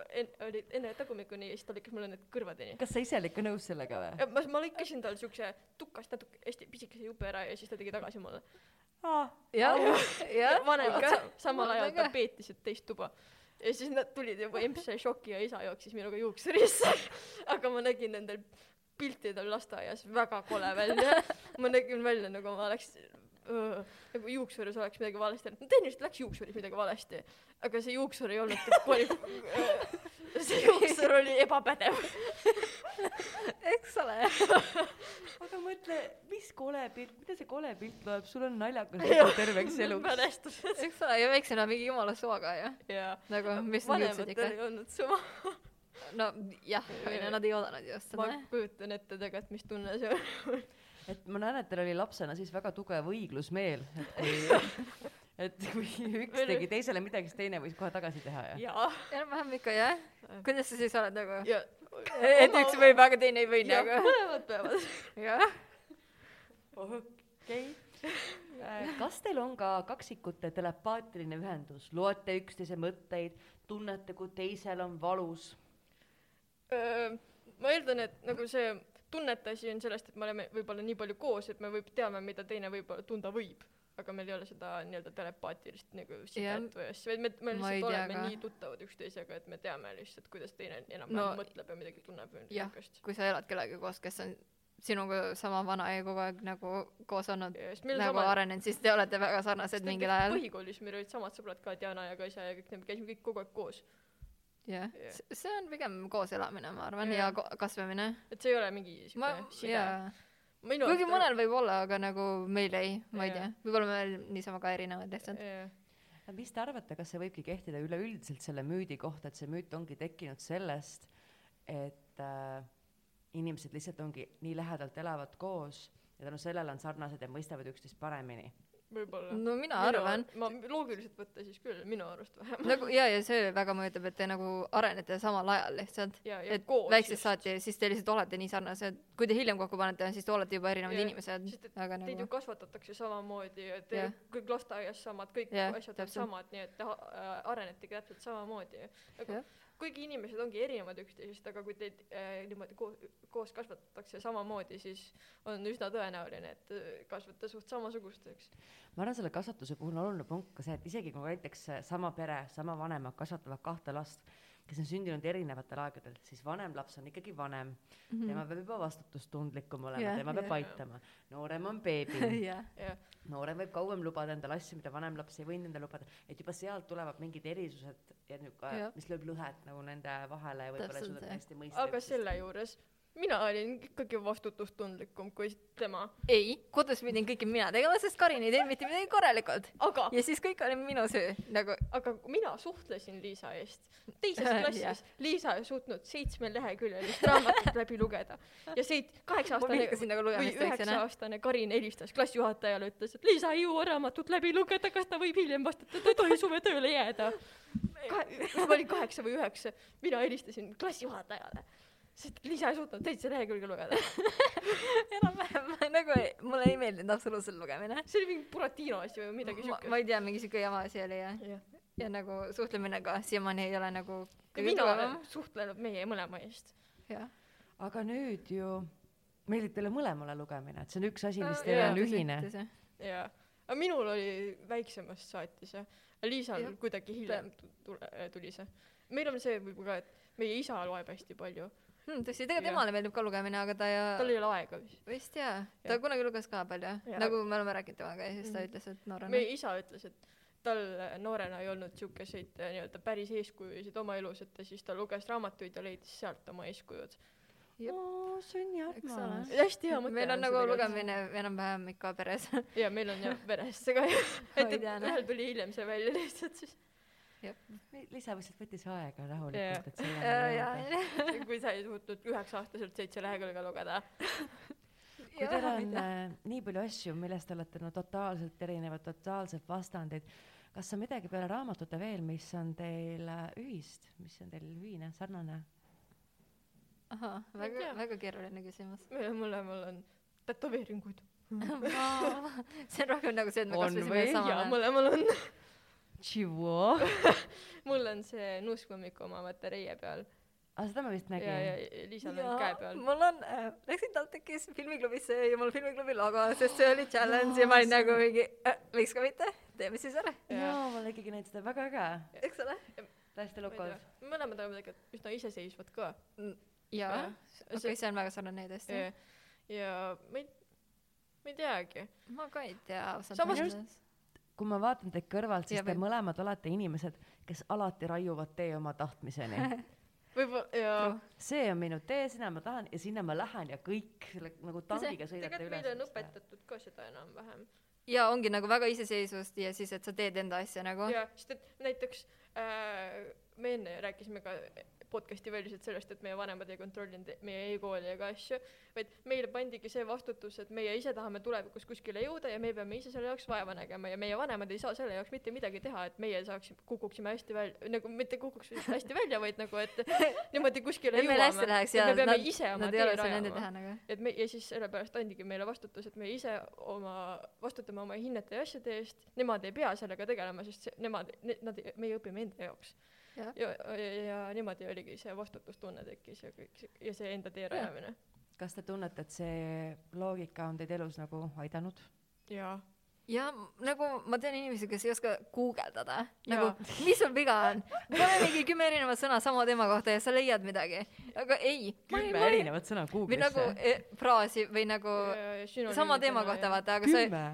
oli enne tagumikuni ja siis ta lõikas mulle need kõrvadeni . kas sa ise olid ka nõus sellega või ? ma , ma lõikasin tal siukse tukast natuke hästi pisikese jupe ära ja siis ta tegi tagasi mulle . jah , jah . vanem ka , samal Vanem ajal ka. ta peetis , et teist tuba . ja siis nad tulid juba EMS-i šoki ja isa jooksis minuga juuksurisse . aga ma nägin nendel piltidel lasteaias väga kole välja . ma nägin välja nagu ma oleks öö, nagu juuksuris oleks midagi valesti olnud , no tõenäoliselt läks juuksuris midagi valesti , aga see juuksur ei olnud , see juuksur oli ebapädev . eks ole . aga mõtle , mis kole pilt , mida see kole pilt loeb , sul on naljakas lugu terveks eluks . mälestused eks ole , ja väiksena mingi jumala suvaga ju . ja nagu , mis nad ütlesid vanematel ikka ei . olnud suva . no jah , onju , nad ei oodanud just ma seda . kujutan ette tegelikult , mis tunne see on . et ma näen , et teil oli lapsena siis väga tugev õiglusmeel , et kui , et kui üks tegi teisele midagi , siis teine võis kohe tagasi teha ja . jaa . enam-vähem ikka jah . kuidas sa siis oled nagu ? ja et üks võib , aga teine ei või ja nagu . mõlemad peavad . jah . okei . Äh, kas teil on ka kaksikute telepaatiline ühendus , loete üksteise mõtteid , tunnete , kui teisel on valus ? ma eeldan , et nagu see tunnete asi on sellest , et me oleme võib-olla nii palju koos , et me võib teame , mida teine võib-olla tunda võib , aga meil ei ole seda nii-öelda telepaatilist nagu Jah. sidet või asja , vaid me , me Ma ei lihtsalt tea oleme ka. nii tuttavad üksteisega , et me teame lihtsalt , kuidas teine No- enam-vähem mõtleb ja midagi tunneb või midagi jah. niisugust . kui sa elad kellegagi koos , kes on sinuga sama vana ja kogu aeg nagu koos olnud , ja siis meil on nagu sama arenenud , siis te olete väga sarnased sest mingil näiteks ajal . põhikoolis meil olid samad sõbrad ka , Diana ja Kaisa ja kõik need , me käisime kõik kogu aeg koos . jah Jah. , see on pigem koos elamine , ma arvan , ja Jah. ko- kasvamine . et see ei ole mingi ma sihuke , side . jaa . kuigi mõnel võib olla , aga nagu meil ei , ma ei Jaa. tea , võib-olla me oleme niisama ka erinevad lihtsalt . mis te arvate , kas see võibki kehtida üleüldiselt selle müüdi kohta , et see müüt ongi tekkinud sellest , et äh, inimesed lihtsalt ongi nii lähedalt elavad koos ja tänu sellele on sarnased ja mõistavad üksteist paremini . võib-olla . no mina arvan , ma loogiliselt võtta siis küll , minu arust vähemalt . nagu ja , ja see väga mõjutab , et te nagu arenete samal ajal lihtsalt . ja , ja et koos . väiksest saati , siis te lihtsalt olete nii sarnased , kui te hiljem kokku panete , siis te olete juba erinevad Jah, sest inimesed et , aga Teid ju nagu kasvatatakse samamoodi ja te Jah. yeah. kõik lasteaias samad , kõik Jah, yeah, asjad on täpselt. samad , nii et te ha- äh, arenetegi täpselt samamoodi . aga Jah. kuigi inimesed ongi erinevad üksteisest , aga kui teid äh, niimoodi koos , koos kasvatatakse samamoodi , siis on üsna tõenäoline , et äh, kasvate suht samasugusteks . ma arvan , selle kasvatuse puhul on oluline punkt ka see , et isegi kui näiteks eh, sama pere , sama vanemad kasvatavad kahte last , kes on sündinud erinevatel aegadel , siis vanem laps on ikkagi vanem mm. , Mhm. tema peab juba vastutustundlikum olema Jah, yeah, , tema peab jah. yeah. aitama . noorem on beebi , jah , jah , noorem võib kauem lubada endale asju , mida vanem laps ei võinud endale lubada , et juba sealt tulevad mingid erisused ja niisugune Jah. , mis lööb lõhet nagu nende vahele ja võib-olla ei Täpselt, suudeta jah. hästi mõista . aga selle juures mina olin ikkagi vastutustundlikum kui tema , ei , kodus pidin kõike mina tegema , sest Karin ei teinud mitte midagi korralikult . aga , ja siis kõik oli minu süü , nagu aga mina suhtlesin Liisa eest . teises Jah. klassis Liisa ei suutnud seitsme leheküljelist raamatut läbi lugeda ja seit- , ma kaheksa-aastane vihkasin nagu või lugemist , eks ju , noh . üheksa-aastane Karin helistas klassijuhatajale , ütles , et Liisa ei jõua raamatut läbi lugeda , kas ta võib hiljem vastata , ta ei tohi suvetööle jääda . ma olin kaheksa või üheksa , mina helistasin klassijuhatajale , sest Liisa ei suutnud seitse lehekülge lugeda . enam-vähem nagu ei- mulle ei meeldinud absoluutselt lugemine . see oli mingi Buratino asi või midagi ma, ma siukest . ei tea , mingi siuke jama asi oli ja , jah , ja nagu suhtlemine ka siiamaani ei ole nagu ja mina olen . suhtlenud meie mõlema eest . jah , aga nüüd ju meeldib teile mõlemale lugemine , et see on üks asi , mis Äh, teil jaa, on ühine . jaa , aga minul oli väiksemast saati see , Liisal Jah. kuidagi hiljem tu- tule- äh, tuli see . meil on see võib-olla , et meie isa loeb hästi palju , Hmm, tõsi , tegelikult Jah. temale meeldib ka lugemine , aga ta ja tal ei ole aega vist . vist jaa , ta Jah. kunagi luges ka palju , Jaa. nagu me oleme rääkinud temaga ja siis ta Mhm. ütles , et noorena . meie isa ütles , et tal äh, noorena ei olnud siukeseid äh, nii-öelda päris eeskujusid oma elus , et ta siis ta luges raamatuid ja leidis sealt oma eeskujud . Jep. oo , see on nii Eks armas ole. . hästi hea mõte . meil on nagu . lugemine enam-vähem ikka peres . ja meil on jah veres see ka jah , et et Hoidjana. ühel tuli hiljem see välja lihtsalt siis , Liisa lihtsalt võttis aega Jaa. rahulikult , et jaa , selle jaa . kui sa ei suutnud üheksa-aastaselt seitse lehekülge lugeda . kui teil on äh, nii palju asju , milles te olete no totaalselt erinevad , totaalselt vastandid , kas on midagi peale raamatute veel , mis on teil äh, ühist , mis on teil ühine , sarnane ? ahah , Ma ei väga tea. , väga keeruline küsimus . meil mõlemal on tätoveeringuid . see on rohkem nagu see , et me On kasvasime või? samal ja ajal . mõlemal on . aga mul on see nuuskmõmmiku oma vaata reie peal Ah, seda ma vist ja , ja nägin . Liisal on käe peal . mul on äh, , läksin TalTechis filmiklubisse ja mul filmiklubi logo , sest see oli challenge ja ma olin nagu mingi äh, , miks ka mitte , teeme siis ära , ja- jaa , ma ikkagi näitasin seda , väga äge , eks ole . täiesti lukus . mõlemad on midagi üsna iseseisvad ka jaa , Jah. okei okay, , see on väga sarnane tõesti . ja, ja ma ei , ma ei teagi . ma ka ei tea ausalt Samas- öeldes . kui ma vaatan teid kõrvalt , siis Ja te veel- mõlemad olete inimesed , kes alati raiuvad tee oma tahtmiseni . võib-olla ja Noh, see on minu tee , sinna ma tahan ja sinna ma lähen ja kõik selle nagu tangiga sõidate tegelikult üle . meile on õpetatud ka seda enam-vähem ja ongi nagu väga iseseisvust ja siis , et sa teed enda asja nagu . ja sest et näiteks äh, me enne rääkisime ka podcast'i väliselt sellest , et meie vanemad ei kontrollinud meie e-kooli ega asju , vaid meile pandigi see vastutus , et meie ise tahame tulevikus kuskile jõuda ja me peame ise selle jaoks vaeva nägema ja meie vanemad ei saa selle jaoks mitte midagi teha , et meie saaksime , kukuksime hästi välja , nagu mitte kukuks hästi välja , vaid nagu , et niimoodi kuskile et meil hästi jõuame . läheks et ja me peame nad , ise oma nad ei tee ole seal nende rajama. teha nagu . et me ja siis sellepärast andigi meile vastutus , et me ise oma , vastutame oma hinnete ja asjade eest , nemad ei pea sellega tegelema , sest see, nemad ne, , nad , meie õpime enda jaoks . Jah. ja, ja , ja, ja niimoodi oligi see vastutustunne tekkis ja kõik see ja see enda tee rajamine . kas te tunnete , et see loogika on teid elus nagu aidanud ? jaa . ja nagu ma tean inimesi , kes ei oska guugeldada , nagu Jaa. mis sul viga on , pane mingi kümme erinevat sõna sama teema kohta ja sa leiad midagi , aga ei . kümme erinevat sõna või nagu Google'isse . e, fraasi või nagu sama teema kohta , vaata , aga sa ei , kümme ?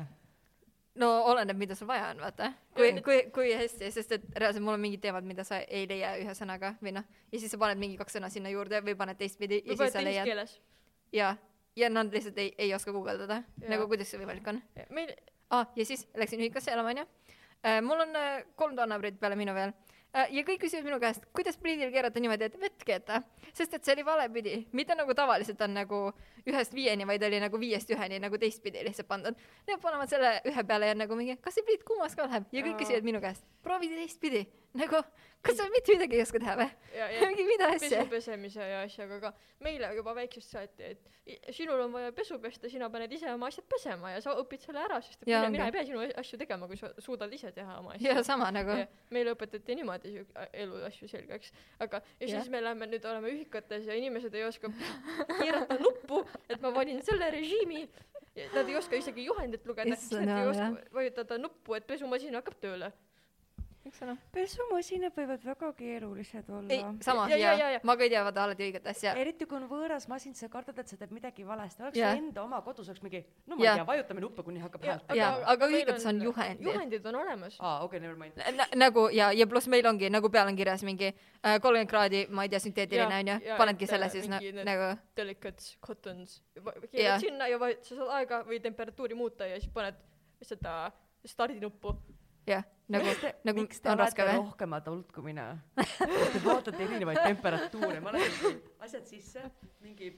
no oleneb , mida sul vaja on , vaata . kui , kui , kui hästi , sest et reaalselt mul on mingid teemad , mida sa ei leia ühe sõnaga või noh , ja siis sa paned mingi kaks sõna sinna juurde või paned teistpidi ja võib-olla siis sa teises leiad keeles . ja , ja nad lihtsalt ei , ei oska guugeldada , Jaa. nagu kuidas see võimalik on . meil , ah, . ja siis läksin ühikasse elama , onju . mul on äh, kolm tonnabrit peale minu veel . ja kõik küsivad minu käest , kuidas pliidil keerata niimoodi , et vett keeta , sest et see oli valepidi , mitte nagu tavaliselt on nagu ühest viieni , vaid oli nagu viiest üheni nagu teistpidi lihtsalt pandud . Need panevad selle ühe peale ja on nagu mingi , kas see pliit kuumaks ka läheb ja kõik Aa. küsivad minu käest , proovi teistpidi nagu , kas sa mitte midagi ei oska teha või ? ja , ja mingi mida asja pesu . pesemise ja asjaga ka . meile juba väiksest saati , et i- sinul on vaja pesu pesta , sina paned ise oma asjad pesema ja sa õpid selle ära , sest et Jaa, mina, on mina ka. ei pea sinu asju tegema , kui sa suudad ise teha oma asju ja . sama nagu Ja meile õpetati niimoodi siuk- ä- elu asju selgeks , aga ja siis Jah. me lähme nüüd oleme ühikates ja inimesed ei oska keerata nuppu , et ma valin selle režiimi . Nad ei oska isegi juhendit lugeda , siis Issand nad ei jaa, oska jah. vajutada nuppu , et pesumasin hakkab tööle . üks sõna . pesumasinad võivad väga keerulised ei olla ., sama Noh, Ja- ja- ja ja- ja- ma ka ei tea , vaata alati õiget asja . eriti kui on võõras masin , sa kardad , et sa teed midagi valesti , oleks Jah. yeah. enda oma kodus oleks mingi , no ma Jah. yeah. ei tea , vajutame nuppe , kuni hakkab häält aga- Jaa. tulema . aga ühikates on juhendid. juhendid on olemas . aa , okei , never mind . Nä- nagu ja , ja pluss meil ongi nagu peal on kirjas mingi äh, kolmkümmend kraadi , ma ei tea , sünteetiline Jaa, onju jaa, , panedki et, selle äh, siis na- mingi need- nagu Delicates cottons . Jah. keerad sinna ja vajutad , sa saad aega või temperatuuri muuta ja siis paned seda stardinuppu . jah , nagu miks te , nagu miks te on raske olete või ? rohkemat olnud kui mina ? Te vaatate erinevaid temperatuure , ma lähen asjad sisse , mingi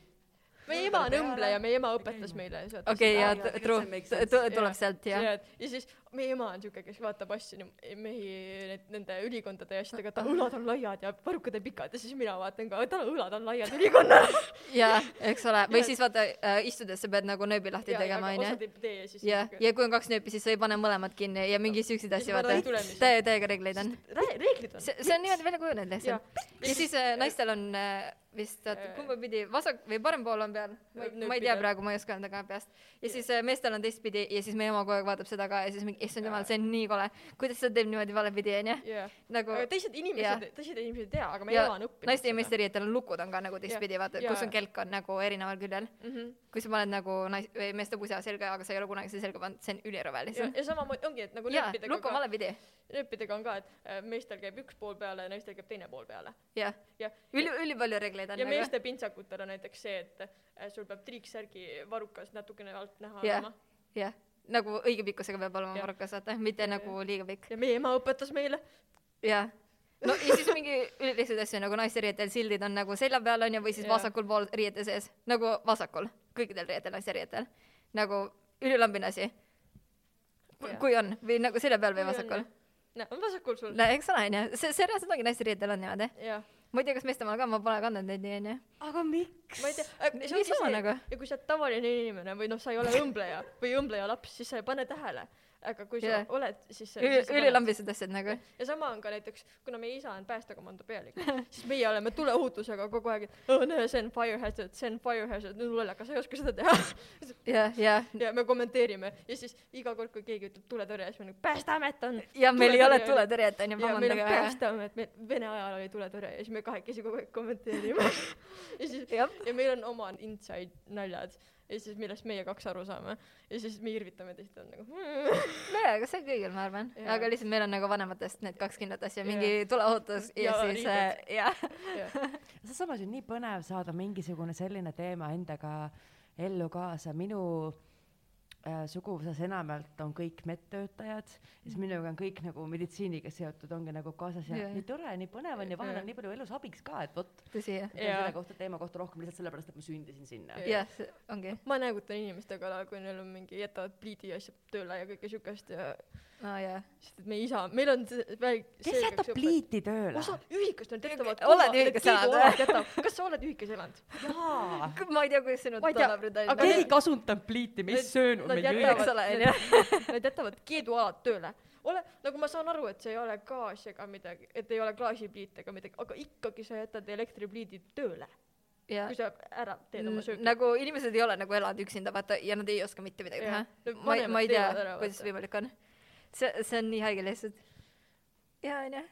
meie ema on Peale. õmbleja , meie ema Ja õpetas käima. meile . okei , Jaa, ja jaa, tegelikult see true makes , sense. tuleb Jaa. sealt ja , ja , ja siis meie ema on siuke , kes vaatab asju nii- mehi need, nende ülikondade ja asjadega , et tal õlad on laiad ja varrukad on pikad ja siis mina vaatan ka , tal õlad on laiad ülikonnal . ja eks ole , või Jaa. siis vaata äh, istudes sa pead nagu nööbi lahti tegema onju . osad ei tee ja siis . ja , ja kui on kaks nööpi , siis sa ei pane mõlemad kinni ja mingi siukseid Ja siis asju ma vaata räägin tulemisi. , täie , täiega reegleid on . reeglid on . see , see on niimoodi välja kujunenud Jaa. lihtsalt . ja siis äh, naistel on äh, vist , oota Äh, , kumba pidi , vasak või parem pool on peal , ma ei , Nööp ma ei tea pigem. praegu , ma ei oska öelda ka peast . ja siis äh, meestel on teistpidi ja siis meie ema kogu aeg vaatab seda ka ja siis mingi , issand jumal , see on nii kole , kuidas ta teeb niimoodi valepidi , onju . jah , nagu aga teised inimesed , teised inimesed ei tea , aga meie Jaa. ema on õppinud . naiste ja meeste riietel on lukud on ka nagu teistpidi , vaata , jaa. kus on kelk on nagu erineval küljel . meeste . kui sa paned nagu nais- või meeste pusa selga , aga sa ei ole kunagi seda selga pannud , see on ülirõve ja , lihtsalt . ja samamoodi ongi , et nagu jaa , nööpidega lukk on ka , valepidi , nööpidega on ka , et äh, meestel käib üks pool peale ja naistel käib teine pool peale . jah . ja , üli , ülipalju reegleid on ja nagu . meeste pintsakutel on näiteks see , et äh, sul peab triiksärgi varukas natukene alt näha Jah. olema . jah , nagu õige pikkusega peab olema Jah. varrukas , vaata , mitte nagu liiga pikk . ja meie ema õpetas meile . jah . no ja siis mingi üldiseid asju nagu naisteriietel sildid on nagu selja peal onju või siis Jah. vasakul pool riiete sees , nagu vasakul , kõikidel riietel , naisteriietel . nagu ülilambine asi . Jah. kui on või nagu selja peal või Kui on, vasakul . näe , on vasakul sul . no eks ole onju , see , see reaalselt ongi naisteriietel on niimoodi . jah , ma ei tea , kas meestel on ka , ma pole kandnud neid nii onju . aga miks ? ma ei tea . äh, niisama nagu. ja kui sa oled tavaline inimene või noh , sa ei ole õmbleja või õmbleja laps , siis sa ei pane tähele . aga kui sa Jah. yeah. oled , siis sa . ülilambised asjad nagu . ja sama on ka näiteks , kuna meie isa on päästekomando pealik , siis meie oleme tuleohutusega kogu aeg , et oh, näe , see on fire hazard , see on fire hazard , no lollakas , sa ei oska seda teha . jah , jah . ja me kommenteerime ja siis iga kord , kui keegi ütleb tuletõrje , siis me nagu päästeamet on . ja nagu, meil ei ole Tuletõrje oli- tuletõrjet onju , ja meil on vabandage väga . päästeamet , meil Vene ajal oli tuletõrje ja siis me kahekesi kogu aeg kommenteerime . ja siis , jah , ja meil on oma inside naljad ja siis millest meie kaks aru saame ja siis me irvitame teist on nagu hmm. . nojah , aga see on kõigil , ma arvan , Jaa. aga lihtsalt meil on nagu vanematest need kaks kindlat asja , Jaa. mingi tuleohutus ja, Ja ja siis äh, jah , samas on nii põnev saada mingisugune selline teema endaga ellu kaasa , minu äh, suguvõsas enamjaolt on kõik medtöötajad ja Mm. siis minuga on kõik nagu meditsiiniga seotud ongi nagu kaasas ja Jaa. yeah. nii tore , nii põnev on ja vahel Jaa. on nii palju elus abiks ka , et vot tõsi jah ma tean Jaa. selle kohta teema kohta rohkem lihtsalt sellepärast , et ma sündisin sinna . Jaa. jah see ongi ma näägutan inimeste kallal , kui neil on mingi , jätavad pliidi asjad tööle ja kõike siukest ja aa jaa sest et meie isa , meil on see väik- . kes jätab ? pliiti tööle ? osa ühikast nad jätavad . oled ühikas elanud või? kas sa oled ühikas elanud ? jaa . Kõ- ma ei tea kuidas sinu Ma ei tea, naabrid aga olid need- keegi ei kasutanud pliiti , me ei Nad- söönud nad meie jätavad- ühikas . eks ole onju Nad jätavad keedualad tööle . ole , nagu ma saan aru , et see ei ole gaas ega midagi , et ei ole klaasipliit ega midagi , aga ikkagi sa jätad elektripliidid tööle , ja kui sa ära teed Mm, oma n- söögi . nagu inimesed ei ole nagu elanud üksinda vaata ja nad ei oska mitte midagi Jah. teha Nad ma ei ma ei vanemad tea teevad ära, kuidas vaata. võimalik on see see on nii haige lihtsalt jaa onju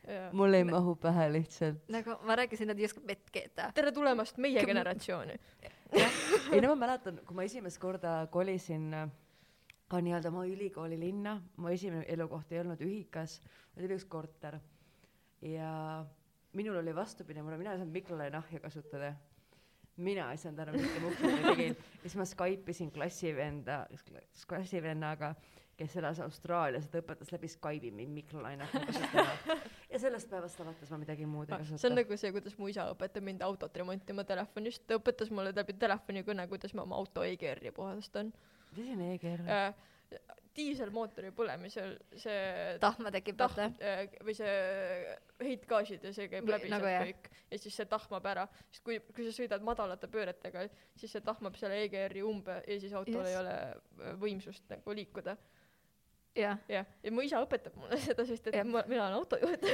mul ei mahu pähe lihtsalt . nagu ma rääkisin nad ei oska vett keeta tere tulemast meie Küm- generatsiooni . ei no ma mäletan , kui ma esimest korda kolisin äh, ka nii-öelda oma ülikooli linna , mu esimene elukoht ei olnud ühikas , vaid oli üks korter ja minul oli vastupidi , mul , mina ei saanud mikrolainahja kasutada . mina ei saanud ära mitte muhvigi tegin ja siis ma Skype isin klassivenda , klassivennaga , kes elas Austraalias , ta õpetas läbi Skype'i mind mikrolainahja kasutama ja sellest päevast alates ma midagi muud ei see on kasuta . nagu see , kuidas mu isa õpetab mind autot remontima telefonist , ta õpetas mulle läbi telefonikõne , kuidas ma oma auto EGR-i puhastan . tõsine e-keel . Äh. Mm. diiselmootori põlemisel see tahma tekib tahm vaata äh, või see heitgaasid ja see käib Või- läbi nagu nagu sealt jah. kõik ja siis see tahmab ära sest kui kui sa sõidad madalate pööretega siis see tahmab selle EGR-i umbe ja siis autol Yes. yes. ei ole äh, võimsust nagu liikuda jah jah ja mu isa õpetab mulle seda sest et Jah. ma mina olen autojuht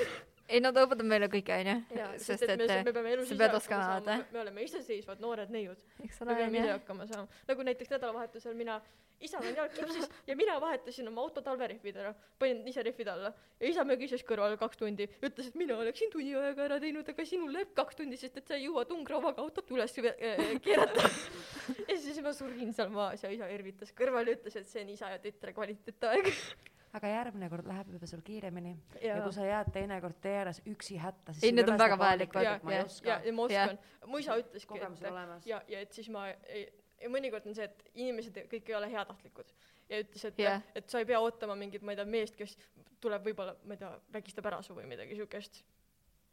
ei no ta õpetab meile kõike onju ja sest et eh, me, me peame elus sa ise pead hakkama oskama saama vaata. me- me oleme iseseisvad noored neiud eks me ole peame ise onju hakkama saama nagu näiteks nädalavahetusel mina isa oli jalgkipsis ja mina vahetasin oma auto talverehvid ära panin ise rehvid alla ja isa mögises kõrval kaks tundi ütles et mina oleksin tunni ajaga ära teinud aga sinul läheb kaks tundi sest et sa ei jõua tungrauaga autot üles ve- äh, keerata ja siis ma surin seal maas ja isa irvitas kõrval ja ütles et see on isa ja tütre kvaliteetaeg aga järgmine kord läheb juba sul kiiremini ja, ja ja kui sa jääd teinekord tee ääres üksi hätta , siis Ei, sul need ei on ole väga seda paanikat, vajalikud, et ma ei jah. oska ja ja ma Jah. oskan mu isa ütleski kogemus et on olemas ja ja et siis ma ei ja mõnikord on see et inimesed ei- kõik ei ole heatahtlikud ja ütles et Jah. et sa ei pea ootama mingit ma ei tea meest kes tuleb võibolla ma ei tea vägistab ära su või midagi siukest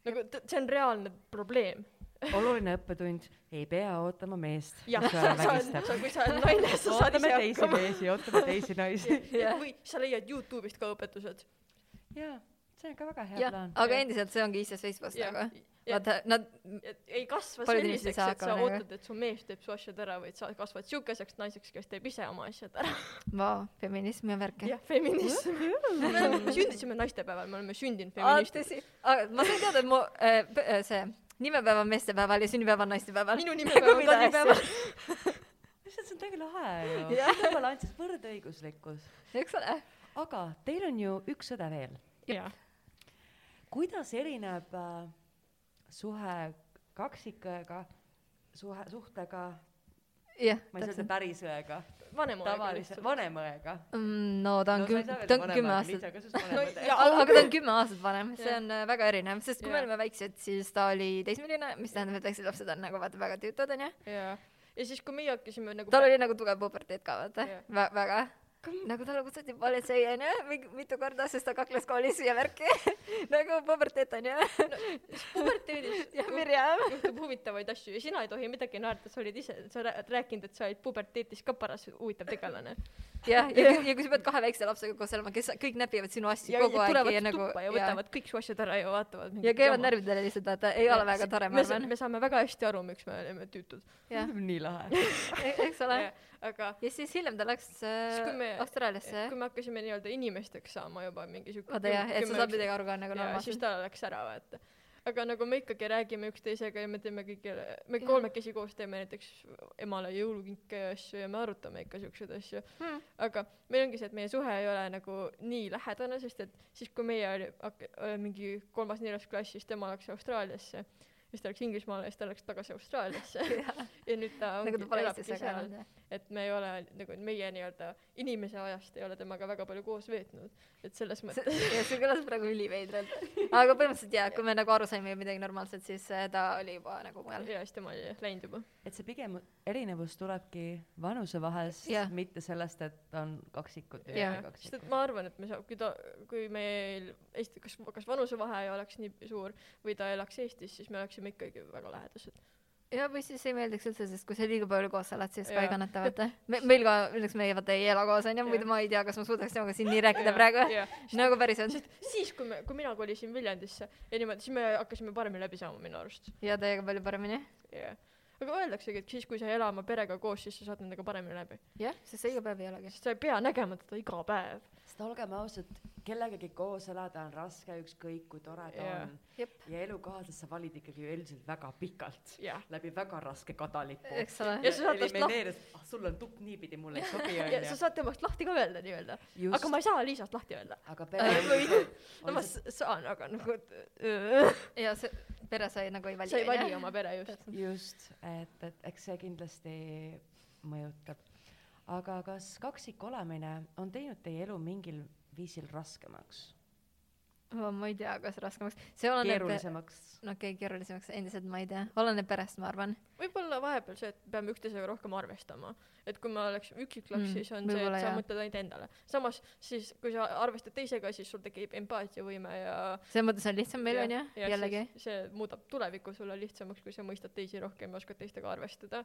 nagu t- see on reaalne probleem oluline õppetund , ei pea ootama meest , jah kes sa ära sa oled vägistab sa kui sa oled naine sa saad ootame ise teisi hakkama meesi , ootame teisi naisi Ja- või sa leiad Youtube'ist ka õpetused jaa , see on ka väga hea jah plaan aga Jah. endiselt see ongi iseseisvus ja nagu ja vaata nad et ei kasva Paljud inimesed ei saa selliseks et sa hakkama nagu. ootad et su mees teeb su asjad ära vaid sa kasvad siukeseks naiseks kes teeb ise oma asjad ära vau feminism ja värke jah , feminism . me oleme- sündisime naistepäeval , me oleme sündinud aa feministid . tõsi Aga ma sain teada et mu äh, p- äh, see nimepäev on meestepäeval ja sünnipäev on naistepäeval minu nimepäev on Mida asja? kadripäeval . lihtsalt see on tegelikult lahe ju , Jah. see on balansis , võrdõiguslikkus . eks ole aga teil on ju üks õde veel , jah , kuidas erineb äh, suhe kaksikõega , suhe , suhtega , jah ma ei saa öelda täpselt päris õega , vanem tavalise , vanem õega Mm, no ta on küm- ta on kümme aastat Ja aga aga- aga ta on kümme aastat vanem , see Jah. on äh, väga erinev , sest kui me Jah. olime väiksed , siis ta oli teismeline , mis tähendab , et väiksed lapsed on nagu vaata väga tüütud onju . ja , ja siis , kui meie hakkasime nagu . tal oli nagu tugev puberteed ka vaata Jah. Vä- , väga . nagu talle kutsuti politsei onju , mitu korda , sest ta kakles koolis ja värki . nagu puberteed onju . puberteedis ja . Mirjam . juhtub huvitavaid asju ja sina ei tohi midagi naerda , sa olid ise , sa oled rääkinud , et sa olid puberteetis ka paras huvitav tegelane . jah , ja , ja kui sa pead kahe väikse lapsega koos elama , kes kõik näpivad sinu asju ja kogu aeg tulevad ja nagu tuppa ja ja, võtavad kõik su asjad ära ja vaatavad . ja käivad . närvidele lihtsalt vaata , ei ole väga tore , ma arvan . me saame väga hästi aru , miks me oleme tüütud . jah , nii lahe . eks ole . aga ja siis hiljem ta läks Siis, kui me- äh, Austraaliasse kui . me hakkasime nii-öelda inimesteks saama juba mingi siuke vaata jah , et sa saad midagi aru ka nagu ja siis normaalselt . ta läks ära vaata aga nagu me ikkagi räägime üksteisega ja me teeme kõigile me kolmekesi koos teeme näiteks emale jõulukinke ja asju ja me arutame ikka siukseid asju Hmm. aga meil ongi see et meie suhe ei ole nagu nii lähedane sest et siis kui meie oli hak- äh, mingi kolmas neljas klass siis tema läks Austraaliasse siis ta läks Inglismaale ja siis ta läks tagasi Austraaliasse ja nüüd ta ongi nagu ta pole elabki Eestis väga seal. elanud jah . et me ei ole nagu meie nii-öelda inimese ajast ei ole temaga väga palju koos veetnud et selles mõttes ja see kõlas praegu üliveidralt . aga põhimõtteliselt jaa , kui me nagu aru saime midagi normaalset , siis äh, ta oli juba nagu ja mujal . siis tema oli läinud juba et see pigem erinevus tulebki vanuse vahest Jah. mitte sellest , et on kaksikud või ei ole Jah. sest et kaksikud . ma arvan et me saa- kui ta kui meil Eesti kas kas vanusevahe ei oleks nii suur või ta elaks Eestis siis me oleksime ikkagi väga lähedased ja või siis ei meeldiks üldse , sest kui sa liiga palju koos elad , siis ka Jaa. ei kannata vaata . me , meil ka , õnneks meie vaata ei ela koos onju , Jah. muidu ma ei tea , kas ma suudaks temaga siin nii rääkida praegu . ja nagu päriselt . siis kui me kui mina kolisin Viljandisse ja niimoodi siis me hakkasime paremini läbi saama minu arust ja teiega palju paremini . jah aga öeldaksegi et siis kui sa ei ela oma perega koos siis sa saad nendega paremini läbi jah , sest sa iga päev ei elagi . sest sa ei pea nägema teda iga päev sest olgem ausad , kellegagi koos elada on raske , ükskõik kui tore ta Jah. on . jep , ja elukaaslast sa valid ikkagi ju üldiselt väga pikalt , jah läbi väga raske kadalipu . eks ole . Ja sa saad tast lahti- elimineeris , ah sul on tukk niipidi , mulle ei sobi ja sa onju . saad temast lahti ka öelda nii-öelda just aga , ma ei saa Liisast lahti öelda aga või pere . no ma s- saan aga nagu et, öö, ja see pere sai nagu ei vali . sa ei vali oma pere just just , et , et eks see kindlasti mõjutab . aga kas kaksik olemine on teinud teie elu mingil viisil raskemaks , oma . ma ei tea , kas raskemaks . see oleneb , keerulisemaks ? no okei okay, , keerulisemaks endiselt ma ei tea , oleneb perest , ma arvan . võibolla vahepeal see et peame üksteisega rohkem arvestama et kui me oleks üksik laps Mm, siis on see võib-olla et sa jaa. mõtled ainult endale samas siis kui sa arvestad teisega siis sul tekib empaatiavõime ja selles mõttes on lihtsam meil ja- onju , ja jällegi . siis see muudab tuleviku sulle lihtsamaks kui sa mõistad teisi rohkem ja oskad teistega arvestada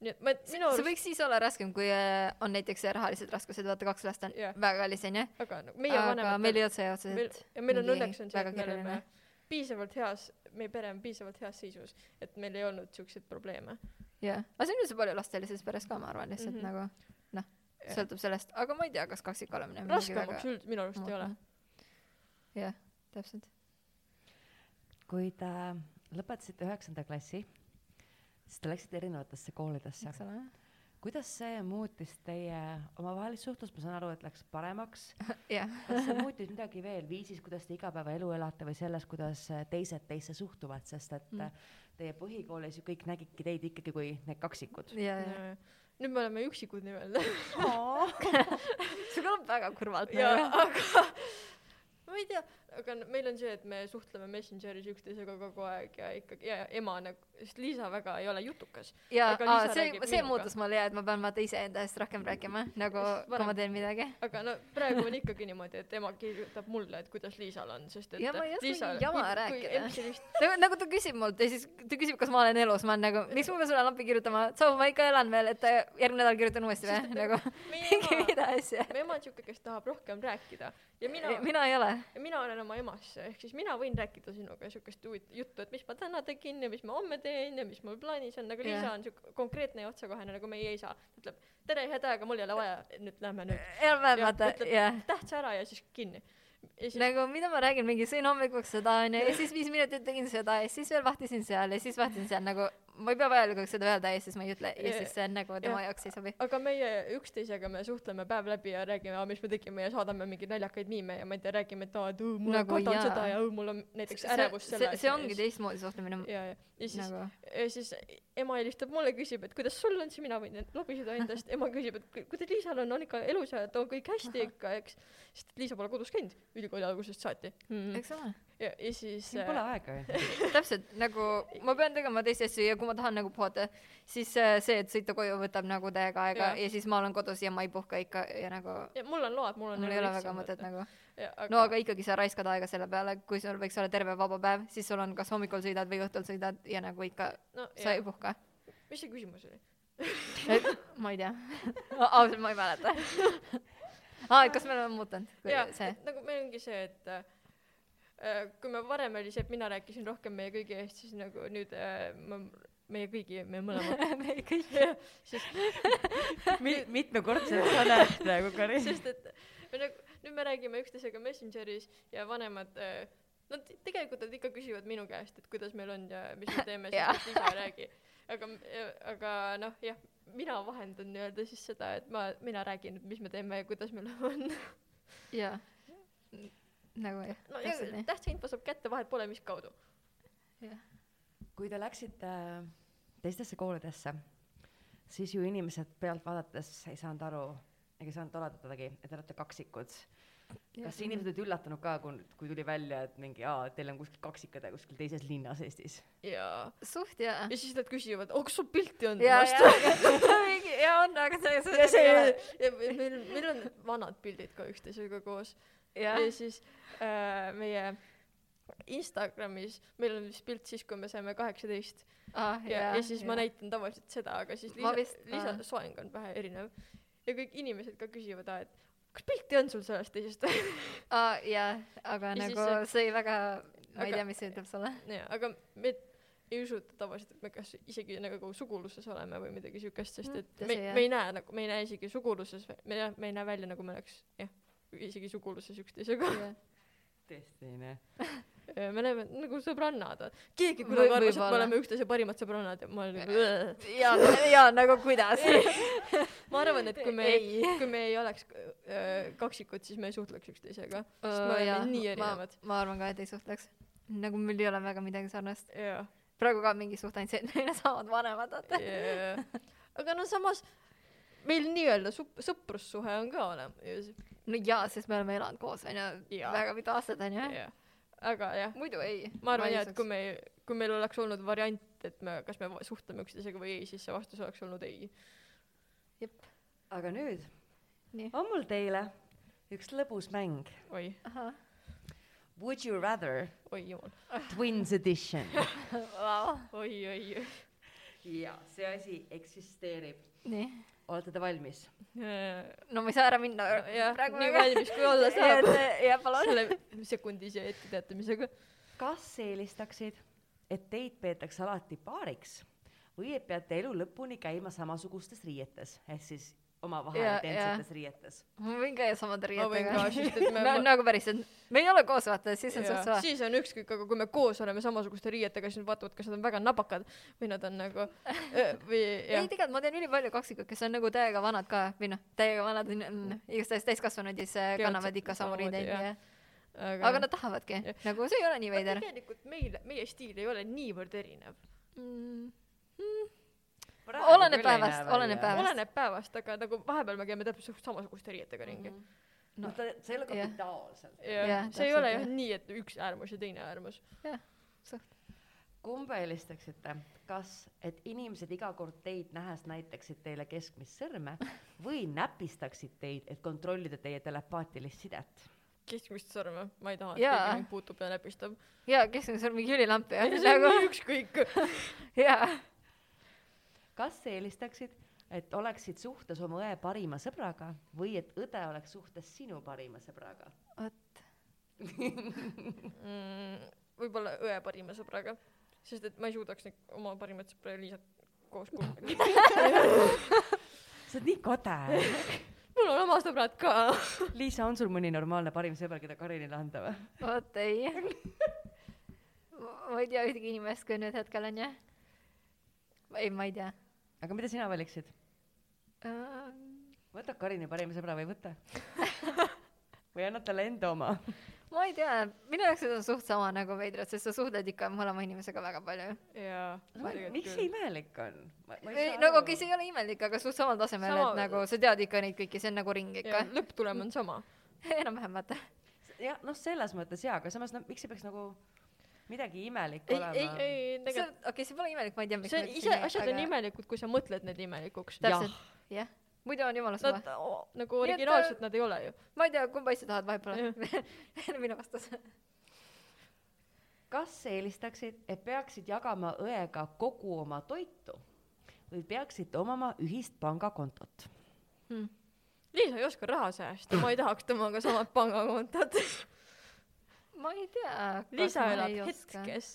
nii et ma et see minu arust võiks siis olla raskem , kui äh, on näiteks rahalised raskused , vaata kaks last on Jah. väga kallis onju , aga no meie aga vanemad meil ei olnud see otseselt meil , ja meil on mingi õnneks on see , väga et me oleme keeruline. piisavalt heas , meie pere on piisavalt heas seisus , et meil ei olnud siukseid probleeme . jah , aga see on üldse palju lastelises peres ka , ma arvan , lihtsalt Mhm. mm -hmm. nagu noh , Jah. sõltub sellest , aga ma ei tea , kas kaksik olemine on mingi raskemaks väga üld- , minu arust ei ole muutnud. . jah , täpselt . kui te lõpetasite üheksanda klassi , siis te läksite erinevatesse koolidesse . eks ole . kuidas see muutis teie omavahelist suhtlust , ma saan aru , et läks paremaks . jah , kas see muutis midagi veel viisis , kuidas te igapäevaelu elate või selles , kuidas äh, teised teisse suhtuvad , sest et Mm. mm. teie põhikoolis ju kõik nägidki teid ikkagi kui need kaksikud . ja , ja . nüüd me oleme üksikud nii-öelda see kõlab väga kurvalt . nagu ja aga ma ei tea , aga no meil on see , et me suhtleme Messengeris üksteisega kogu aeg ja ikkagi ja ema nagu , sest Liisa väga ei ole jutukas . ja Aga aa, Liisa see räägib , see minuga. muutus mul ja , et ma pean vaata iseenda eest rohkem rääkima , nagu Just, kui ma varem- teen midagi . aga no praegu on ikkagi niimoodi , et ema kirjutab mulle , et kuidas Liisal on , sest et ja ma ei oska Liisa- mingi jama kui- kui rääkida . eelmisel vist- nagu , nagu ta küsib mult ja siis ta küsib , kas ma olen elus , ma olen nagu , miks ma pean sulle lappi kirjutama , tšau , ma ikka elan veel , et äh, järgmine nädal kirjutan uuesti või , nagu meie mingi ema mida asja . mu ema on siuke , kes tahab rohkem rääkida ja mina , mina ei ole . ja mina olen oma emasse , ehk siis mina võin rääkida sinuga siukest huvit- juttu , et mis ma täna tegin ja mis ma homme teen ja mis mul plaanis on , aga Jah. Liisa on siuke konkreetne ja otsekohene , nagu meie isa . ütleb tere , head aega , mul ei ole vaja , nüüd lähme nüüd enam-vähem Jah, vaata , ütleb- jah . tähtsa ära ja siis kinni . ja siis nagu mida ma räägin , mingi sõin hommikuks seda onju ja siis viis minutit tegin seda ja siis veel vahtisin seal ja siis vahtisin seal nagu ma ei pea vajalikuks seda öelda ja siis ma ei ütle ja Ja- siis see on nagu tema jaoks ei sobi . aga meie üksteisega me suhtleme päev läbi ja räägime , mis me tegime ja saadame mingeid naljakaid miime ja ma ei tea , räägime , et aa , et õu , ma Nagu kardan jaa. seda ja õu , mul on näiteks ärevus selle see, see ongi teistmoodi suhtumine ja , ja , ja siis nagu ja siis ema helistab mulle , küsib , et kuidas sul on , siis mina võin end- lobiseda endast , ema küsib , et ku- kuidas Liisal on , on ikka elus ja ta on kõik hästi ikka , eks . sest et Liisa pole kodus käinud ülikooli algusest saati mm. . eks ole ja , ja siis äh, siin pole aega ju . täpselt nagu ma pean tegema teisi asju ja kui ma tahan nagu puhata , siis äh, see , et sõita koju võtab nagu täiega aega Jah. ja. ja siis ma olen kodus ja ma ei puhka ikka ja nagu äh, ja mul on load , mul on mul ei ole väga mõtet nagu . nagu . Aga, no aga ikkagi sa raiskad aega selle peale , kui sul võiks olla terve vaba päev , siis sul on kas hommikul sõidad või õhtul sõidad ja nagu ikka no, sa sa... ei puhka . mis see küsimus oli ? ma ei tea , ausalt ma ei mäleta . aa , et kas me oleme muutunud kui jaa , see ? et nagu meil ongi see , et äh, kui me varem oli see , et mina rääkisin rohkem meie kõigi eest , siis nagu nüüd äh, ma , meie kõigi , me mõlemad me kõik . mitmekordselt sa näed praegu , Karin . sest et me nagu nüüd me räägime üksteisega Messengeris ja vanemad äh, no t- tegelikult nad ikka küsivad minu käest et kuidas meil on ja mis me teeme Jaa. sest et ise ei räägi aga m- ja- aga noh jah mina vahendan nii-öelda siis seda et ma mina räägin et mis me teeme ja kuidas meil on jaa . nagu jah , no ja täpselt nii . tähtsa info saab kätte vahet pole mis kaudu kui te läksite äh, teistesse koolidesse , siis ju inimesed pealt vaadates ei saanud aru , ega ei saanud oletadagi , et te olete kaksikud . kas inimesed olid üllatunud ka , kui , kui tuli välja , et mingi , aa , teil on kuskil kaksikad ja kuskil teises linnas Eestis ? jaa . suht jaa . ja siis nad küsivad , oh kas sul pilti on ? Ah. jaa , jaa , jaa on , aga see , see , see ei ole . ja meil , meil on vanad pildid ka üksteisega koos . jah ja , siis äh, meie Instagramis , meil on vist pilt siis , kui me saime kaheksateist ah, ja , ja siis ja. ma . näitan tavaliselt seda , aga siis Ma lisa vist- , lisa aa. soeng on vähe erinev . ja kõik inimesed ka küsivad , et kas pilti on sul sellest teisest ? aa , jaa , aga Ja siis nagu see- see väga , ma ei aga- tea , mis see ütleb sulle . jaa , aga me ei usuta tavaliselt , et me kas isegi nagu suguluses oleme või midagi siukest , sest Mm, et tõsi, me jah. , me ei näe nagu , me ei näe isegi suguluses , me ei , me ei näe välja , nagu me oleks jah , isegi suguluses üksteisega . tõesti , onju . me oleme nagu sõbrannad . keegi Või- kunagi arvas , et me võib-olla. oleme üksteise parimad sõbrannad ja ma olen nagu jaa , jaa , nagu kuidas . ma arvan , et kui me Ei. , kui me ei oleks äh, kaksikud , siis me ei suhtleks üksteisega . sest me oleme nii erinevad .. ma arvan ka , et ei suhtleks . nagu meil ei ole väga midagi sarnast . jaa , praegu ka mingi suht ainult see , et meil on samad vanemad , vaata . jaa . aga no samas meil nii-öelda sup- , sõprussuhe on ka olemas . no jaa , sest me oleme elanud koos , onju , Jaa. väga mitu aastat , onju . aga jah , muidu ei . ma arvan jah , et kui me , kui meil oleks olnud variant , et me , kas me va- suhtleme üksteisega või ei , siis see vastus oleks olnud ei . aga nüüd Nii. on mul teile üks lõbus mäng . oi , ahah , Would you rather oi jumal . twins edition ? vau . oi , oi , jaa , see asi eksisteerib . nii . olete te valmis ? oi . no ma ei saa ära minna . jah , nii . valmis kui olla saab . jah , palun . selle sekundise etteteatamisega . kas eelistaksid , et teid peetakse alati paariks või et peate elu lõpuni käima samasugustes riietes ehk siis omavahel Jaa, identsetes riietes ? ma võin ka samade ma võin ka , riietega . sest et me no nagu päriselt , me ei ole koos , vaata , siis on Jaa, suht soe . siis on ükskõik , aga kui me koos oleme samasuguste riietega , siis nad vaatavad , kas nad on väga napakad või nad on nagu öö, või ei , jah , tegelikult ma tean ülipalju kaksikuid , kes on nagu täiega vanad ka või noh , täiega vanad , igastahes täiskasvanud ja siis äh, Peavad kannavad ikka samu samamoodi, riideid jah. ja aga nad tahavadki Jah. , nagu see ei ole nii Aga veider . tegelikult meil , meie stiil ei ole niivõrd erinev . mm. Oleneb päevast, oleneb päevast. oleneb päevast , aga nagu vahepeal me käime täpselt suht- samasuguste riietega ringi . no ta , see ei ole Jah. kapitaalselt . jah Jah, , see ei ole Mhm. täpselt, jah jah. nii , et üks äärmus ja teine äärmus . kumba eelistaksite , kas , et inimesed iga kord teid nähes näitaksid teile keskmist sõrme või näpistaksid teid , et kontrollida teie telepaatilist sidet ? keskmist sõrme , ma ei taha , et Jaa. keegi mind puutub ja näpistab . jaa , kes on seal mingi ülilamp ja see on nagu nii ükskõik . jaa . kas eelistaksid , et oleksid suhtes oma õe parima sõbraga või et õde oleks suhtes sinu parima sõbraga ? vot , Mm, võib-olla õe parima sõbraga , sest et ma ei suudaks neid oma parimat sõpra ja Liisat koos kulgeda . sa oled nii kade . mul on oma sõbrad ka . Liisa , on sul mõni normaalne parim sõber , keda Karinile anda või ? vot ei . ma ei tea ühtegi inimest , kui nüüd hetkel on jah . ei , ma ei tea . Äh, aga mida sina valiksid ? võtad Karini parima sõbra või ei võta ? või annad talle enda oma ? ma ei tea , minu jaoks see on suht sama nagu veidrad , sest sa suhtled ikka mõlema inimesega väga palju . jaa . miks see imelik on ? ei , nagu okei , see ei ole imelik , aga suht samal tasemel , Sama- et nagu sa tead ikka neid kõiki , see on nagu ring ikka . lõpptulem on sama . enam-vähem vaata . jah , noh , selles mõttes jaa , aga samas no miks see peaks nagu midagi imelik ei , ei , olema ? ei , see tegelikult on , okei , see pole imelik , ma ei tea , miks see on ise , asjad on . imelikud , kui sa mõtled need imelikuks . Jah. täpselt , jah . muidu on jumala suva Nad . o- nagu Nii et, originaalsed nad ei ole ju . ma ei tea , kumba asja tahad vahepeal . minu vastus . kas eelistaksid , et peaksid jagama õega kogu oma toitu või peaksite omama ühist pangakontot ? Hmm. Liisa ei oska raha säästa , ma ei tahaks temaga samad pangakontod . ma ei tea . Liisa elab . hetkes .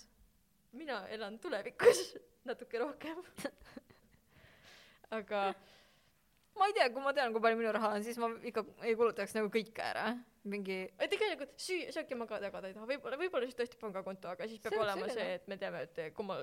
mina elan tulevikus natuke rohkem . aga ma ei tea , kui ma tean , kui palju minu raha on , siis ma ikka ei kulutaks nagu kõike ära . mingi , Ei, tegelikult süü- , sööki ma ka tagada ei taha , võib-olla , võib-olla siis tõesti pangakonto , aga siis peab See see on olema see selline. , et me teame , et kumma ,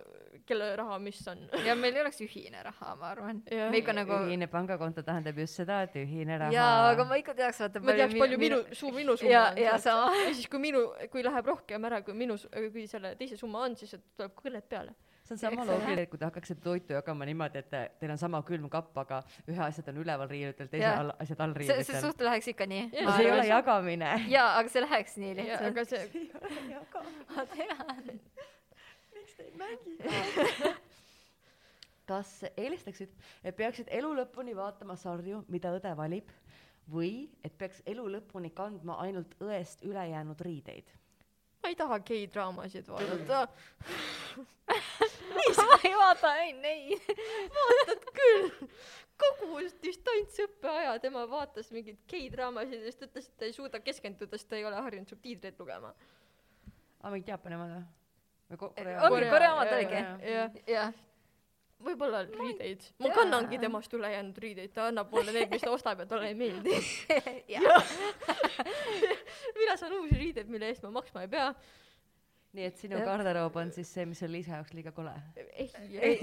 kelle raha mis on . ja meil ei oleks ühine raha , ma arvan . Jah. me ikka nagu , ühine pangakonto tähendab just seda , et ühine raha . jaa , aga ma ikka teaks , vaata . ma teaks , palju minu , suur minu summa ja , on . ja sama . ja siis , kui minu , kui läheb rohkem ära , kui minu , kui selle teise summa on , siis tuleb kõned peale . see on sama Eks ole. loogiline , et kui te hakkaksite toitu jagama niimoodi , et te- teil on sama külmkapp , aga ühe asjad on üleval riiulitel , teise Jah. all , asjad all see , see riiulitel . suht läheks ikka nii . Jah, see ei ole see- jagamine . jaa , aga see läheks nii ja lihtsalt . aga see , ei ole jagamine , ma tean . miks te ei mängi ? kas eelistaksid , et peaksid elu lõpuni vaatama sarju , mida õde valib või et peaks elu lõpuni kandma ainult õest ülejäänud riideid ? ma ei taha geidraamasid vaadata . ma ei vaata ainult neid . vaatad küll . kogu distantsõppe aja tema vaatas mingeid geidraamasid ja siis ta ütles , et ta ei suuda keskenduda , sest ta ei ole harjunud subtiitreid lugema . aa , mingid Jaapani omad või? või ? Ongi Korea Korea- Korea omad oligi. jah , jah . võib-olla riideid . ma Jaa. kannangi temast ülejäänud riideid , ta annab mulle need , mis ta ostab ja talle ei meeldi . jah . mina saan uusi riideid , mille eest ma maksma ei pea . nii et sinu Jah. garderoob on siis see , mis on Liisa jaoks liiga kole . ei , ei ,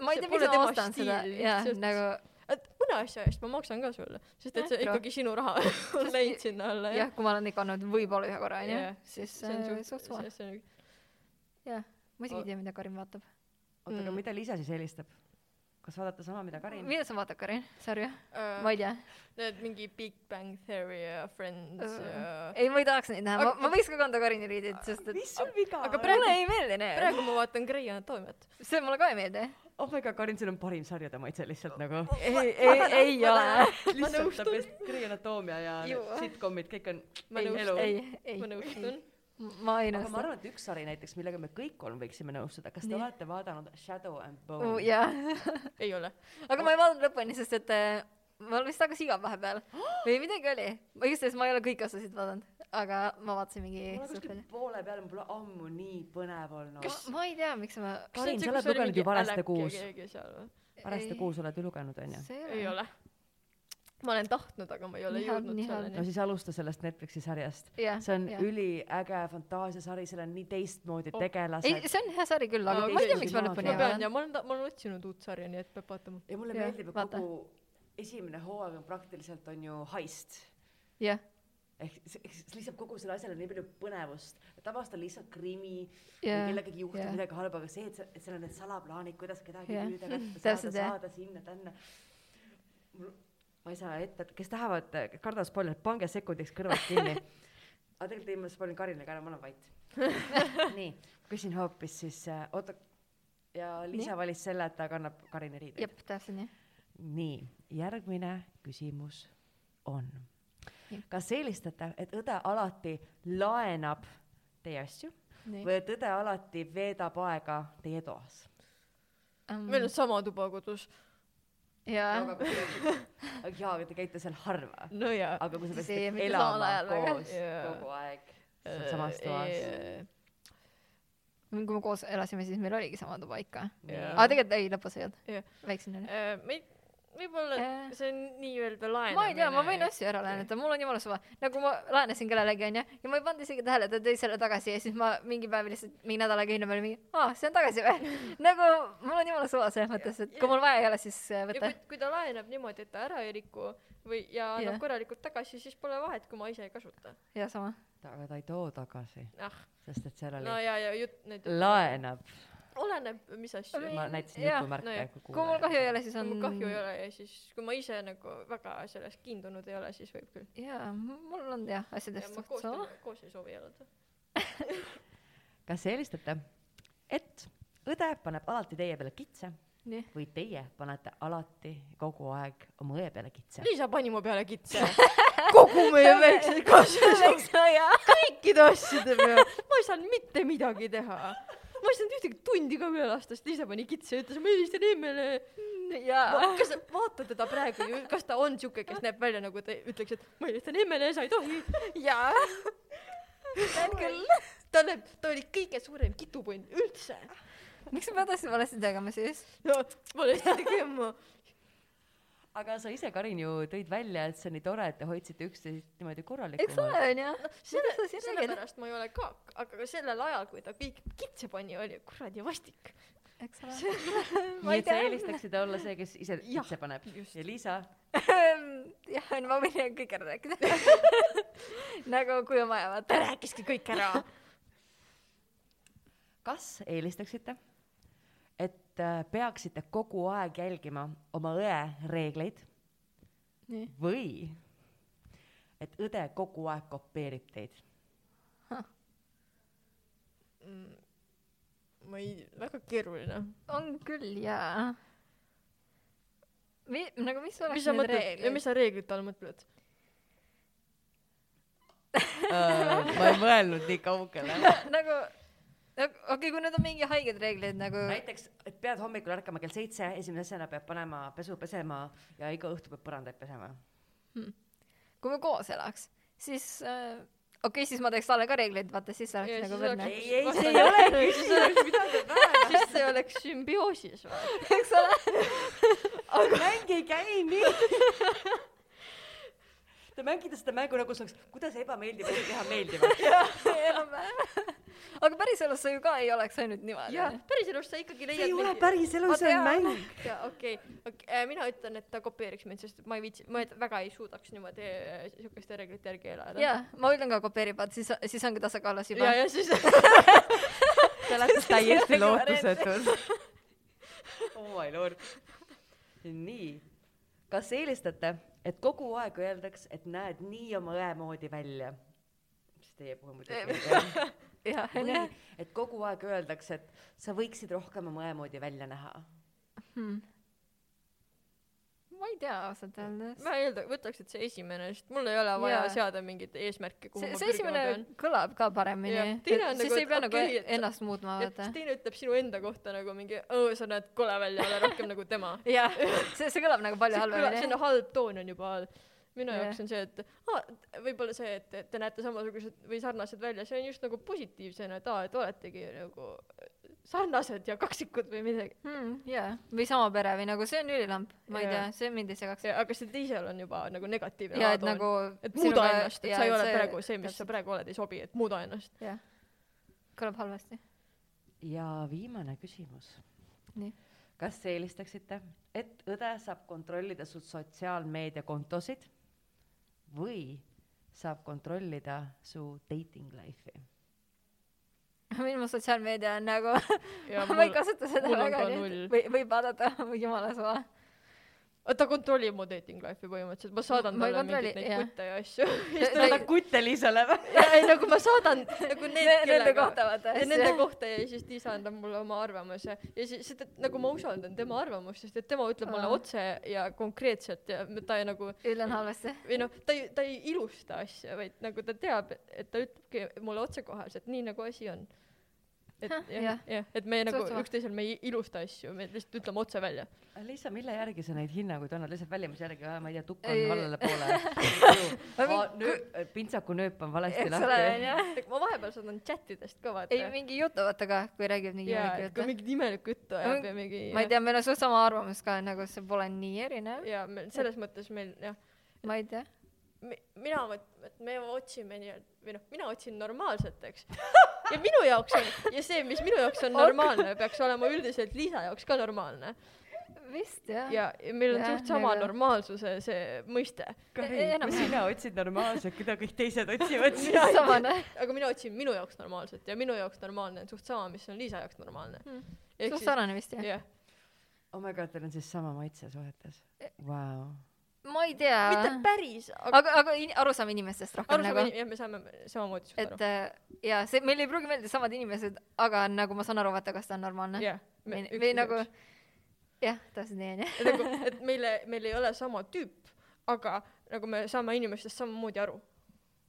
ma ei See tea , miks pole ma tema ostan stiil seda . jah , lihtsalt. nagu mõne asja eest ma maksan ka sulle , sest et see Jah. ikkagi sinu raha on läinud sinna alla jah , kui ma olen ikka andnud võib-olla ühe korra onju Jah, , siis see on äh, suht- suht suva . see- see on- nagu, jah , ma O- isegi ei tea , mida Karin vaatab . oota , aga Mm. mida Liisa siis eelistab ? kas vaadata sama , mida Karin ? mida sa vaatad , Karin ? sarja ? Äh, ma ei tea . Need mingi Big Bang Theory ja Friends ja Äh, ei , ma ei tahaks neid näha , ma Äh. Aga- , ma võiks ka kanda Karini riideid , sest et mis sul viga aga on ? praegu- mulle ei meeldi need . praegu ma vaatan Grey Anatomiat . see mulle ka ei meeldi . oh my god , Karin , sul on parim sarjade maitse lihtsalt nagu . ei , ei , ei ole . lihtsalt nõustun. ta best Grey Anatoomia ja need Juu. sitcomid , kõik on Ma ei, nõustun. elu. ei , ei ma , nõustun . ma ei aga ma nõustu . arvan , et üks sari näiteks , millega me kõik kolm võiksime nõustuda , kas te Nii. olete vaadanud Shadow and Bone ? jah , ei ole . aga ma ei vaadanud lõpuni , sest et äh, mul vist hakkas igav vahepeal või midagi oli . ma igatahes ma ei ole kõiki osasid vaadanud , aga ma vaatasin mingi mul on suht kuskil palju . poole peal , mul pole ammu nii põnev olnud . ma ma ei tea , miks ma . Karin, sa oled lugenud ju Vareste kuus. ei Vareste kuus oled ju lugenud , onju ? ei ole . ole . ma olen tahtnud , aga ma ei ole Nii halb, jõudnud nii halb. no selleni . siis alusta sellest Netflixi sarjast . jah , see on jah. üliäge fantaasiasari , seal on nii teistmoodi Oh. tegelased ei ,. see on hea sari küll , aga Aga ma ei tea , teised miks ma ei lõpuni ma ei pean vaadanud . ja ma olen , ma olen otsinud uut sarja , nii et peab vaatama . ja mulle Jah, meeldib , et vaata. kogu esimene hooaeg on praktiliselt on ju heist jah , ehk see, ehk see lisab kogu selle asjale nii palju põnevust , tavaliselt on lihtsalt krimi yeah, , jah , kellegagi juhtub jah. yeah. midagi halba , aga see , et sa , et seal on need salaplaanid , kuidas kedagi Jah. yeah. püüda kätte saada Täpselt, , jah. saada sinna-tänna . ma ei saa ette , kes tahavad , kardavad spoilerit , pange sekundiks kõrvad kinni . aga tegelikult ei , ma spoilin Karinile ka ära , ma olen vait . nii , küsin hoopis siis , oota , ja Liisa valis selle , et ta kannab Karini riideid . jep , täpselt nii . nii , järgmine küsimus on Nii. . kas eelistate , et õde alati laenab teie asju nii . või et õde alati veedab aega teie toas ? Mm. meil on sama tuba kodus . um, jaa , jaa , aga te käite seal harva . no jaa . aga kui sa Siis ei- peaksid mitte samal elama ajal väga. Äh, koos Jaa. kogu aeg seal samas Äh, toas . kui me koos elasime , siis meil oligi sama tuba ikka . Jaa. aga tegelikult ei , lõpus ei Jah. olnud . väiksem oli . me , äh, võib-olla Jah. see on nii-öelda laen . Äh. ma ei tea , ma võin asju ära laenata , mul on jumala suva . nagu ma laenasin kellelegi , onju , ja ma ei pannud isegi tähele , ta tõi selle tagasi ja siis ma mingi päev lihtsalt , mingi nädal aega hiljem olin mingi , aa , see on tagasi või ? nagu mul on jumala suva selles mõttes , et kui mul vaja ei ole , siis äh, ja võta kui ., kui ta laenab niimoodi , et ta ära ei riku või , ja annab Jah. korralikult tagasi , siis pole vahet , kui ma ise ei kasuta . jaa , sama . aga ta ei too tagasi , ah , sest et seal no oli ja , ja jutt nüüd laenab . oleneb , mis asju . Oli- ma näitasin Jah, no jah. jutumärke . kui mul kahju ei ole , siis kui on mul kahju ei ole ja siis , kui ma ise nagu väga selles kiindunud ei ole , siis võib küll . jaa , mul on jah , asjadest ma suht koos sama ., koos ei soovi elada . kas eelistate , et õde paneb alati teie peale kitse nii . või teie panete alati kogu aeg oma õe peale kitse ? Liisa pani mu peale kitse . kogu meie väikse kasvõi kõikide asjade peale . ma ei saanud mitte midagi teha . ma ei saanud ühtegi tundi ka üle lasta , sest Liisa pani kitse ja ütles , ma helistan Emmele . jaa . kas sa vaatad teda praegu ju , kas ta on siuke , kes näeb välja nagu ta ütleks , et ma helistan Emmele ja sa ei tohi . jaa . tead küll . ta näeb , ta oli kõige suurem kitupunn üldse . miks sa pead asju valesti tegema siis ? no ma lihtsalt ei kõmma . aga sa ise , Karin , ju tõid välja , et see on nii tore , et te hoidsite üksteist niimoodi eks korralikumalt . ole , onju . selle , sa siin räägid ? sellepärast ma ei ole ka , aga ka sellel ajal , kui ta kõik kitse pani , oli kuradi vastik . eks ole . nii ma ei et sa tea. eelistaksid olla see , kes ise Jah, kitse paneb . just. ja Liisa , jah , onju , ma võin kõik ära rääkida . nagu kui on vaja , vaata . ta rääkiski kõik ära . kas eelistaksite , et äh, peaksite kogu aeg jälgima oma õe reegleid nii . või et õde kogu aeg kopeerib teid . Mm. ma ei , väga keeruline . on küll jaa . Mi- , nagu mis mis oleks sa need mõtled ja reeglid mis ? sa reeglite all mõtled ? ma ei mõelnud nii kaugele . nagu , okei okay, , kui need on mingi haiged reeglid nagu , näiteks , et pead hommikul ärkama kell seitse , esimese asjana peab panema pesu pesema ja iga õhtu peab põrandaid pesema . kui me koos elaks , siis äh, okei okay, , siis ma teeks talle ka reegleid , vaata siis oleks nagu võrdne . ei, ei, see ei ole siis oleks midagi vähe . siis see oleks sümbioosis või ? eks ole , mäng ei käi nii . Te mängite seda mängu nagu see oleks , kuidas ebameeldiv oli teha meeldivaks . enam-vähem . aga päriselus see ju ka ei oleks ainult niimoodi . jah , päriselus sa ikkagi leiad see ei ole päris elu , see on mäng . jaa , okei okay. okay. , mina ütlen , et ta kopeeriks mind , sest ma ei viitsi , ma et- väga ei suudaks niimoodi äh, siukeste reeglite järgi elada . jaa , ma ütlen ka kopeerib , vaat siis , siis ongi tasakaalus juba ja ,. ja siis Te olete täiesti lootusetud . oh my lord . nii , kas eelistate , et kogu aeg öeldaks , et näed nii oma õe moodi välja ? mis teie puhul muidugi ei tea . jah , või onju . et kogu aeg öeldakse , et sa võiksid rohkem oma õe moodi välja näha . ma ei tea ausalt öeldes . ma eelda- , võtaks , et see esimene , sest mul ei ole vaja Jaa. yeah. seada mingeid eesmärke , kuhu see , ma see pürgima esimene pean . kõlab ka paremini Jah, . siis teine on nagu, ei et pea nagu okei, et- ennast muutma , ja vaata siis . teine ütleb sinu enda kohta nagu mingi , sa näed kole välja , ole rohkem nagu tema . jah , see , see kõlab nagu palju see kõla- halvemini . selline halb toon on juba all minu Jah. jaoks on see , et aa, t- võib-olla see , et et te näete samasugused või sarnased välja , see on just nagu positiivsena , et aa , et oletegi nagu sarnased ja kaksikud või midagi . mm, . jaa , või sama pere või nagu see on ülilamp , ma ei Jaa. tea , see mind ei segaks . aga see teisel on juba nagu negatiivne ja et nagu . et muuda ennast , et sa ei ole praegu see , mis sa . praegu oled , ei sobi , et muuda ennast . jah , kõlab halvasti . ja viimane küsimus nii . kas te eelistaksite , et õde saab kontrollida su sotsiaalmeediakontosid või saab kontrollida su dating life'i ? minu sotsiaalmeedia on nagu , ma ei oota , kasuta seda mul on väga ka nii null. et või , võib vaadata , jumala suva . ta kontrollib mu dating life'i põhimõtteliselt , ma saadan Ma ei talle kontrolli- mingeid neid jah. kutte ja asju . Ta- seda Kutte-Liisale või ? ei , nagu ma saadan nagu need , Nende kellega kohta vaata . ja nende kohta ja siis Liisa annab mulle oma arvamuse ja siis , sest et nagu ma usaldan tema arvamust , sest et tema ütleb mulle Aa. otse ja konkreetselt ja m- ta ei nagu ütlen halvasti . või noh , ta ei , ta ei ilusta asja , vaid nagu ta teab , et ta ütlebki mulle otsekoheselt nii nagu asi on . et Hah, jah , jah. jah , et me nagu Suht suva. üksteisel , me ei ilusta asju , me lihtsalt ütleme otse välja . Liisa , mille järgi sa neid hinnanguid annad , lihtsalt välimuse järgi , ma ei tea , tukk on Ei- vallale poole Ma . pintsaku nööp on valesti eks ole , lahti . onju . ma vahepeal saadan chattidest ka vaata . ei , mingi jutu vaata ka , kui räägib mingi jaa , imelik et kui jutu . mingit imelikku juttu Mm, Ma- ajab ja mingi . ma ei tea , meil on suht sama arvamus ka , nagu see pole nii erinev . jaa , meil selles mõttes meil jah ma ei tea . mi- mina mõtlen , et me otsime nii-öelda või noh , mina otsin normaalset , eks . ja minu jaoks on ja see , mis minu jaoks on normaalne , peaks olema üldiselt Liisa jaoks ka normaalne . vist jah . ja , ja meil on Jah, suht sama nagu- normaalsuse see mõiste , Ei, Karin , E- enam- kui sina otsid normaalset , keda kõik teised otsivad siis ? samane . aga mina otsin minu jaoks normaalset ja minu jaoks normaalne on suht sama , mis on Liisa jaoks normaalne Mm. . ehk suht siis sarnane vist jah jah , oh my god , teil on siis sama maitse suhetes E- wow. . ma ei tea mitte päris , aga aga aga in- aru saame inimestest rohkem aru nagu saame , jah , me saame samamoodi suht et aru . äh, jaa see meile ei pruugi meeldida samad inimesed aga nagu ma saan aru vaata kas ta on normaalne jah . noh, või või nagu jah täpselt nii onju et nagu , et meile , meil ei ole sama tüüp , aga nagu me saame inimestest samamoodi aru .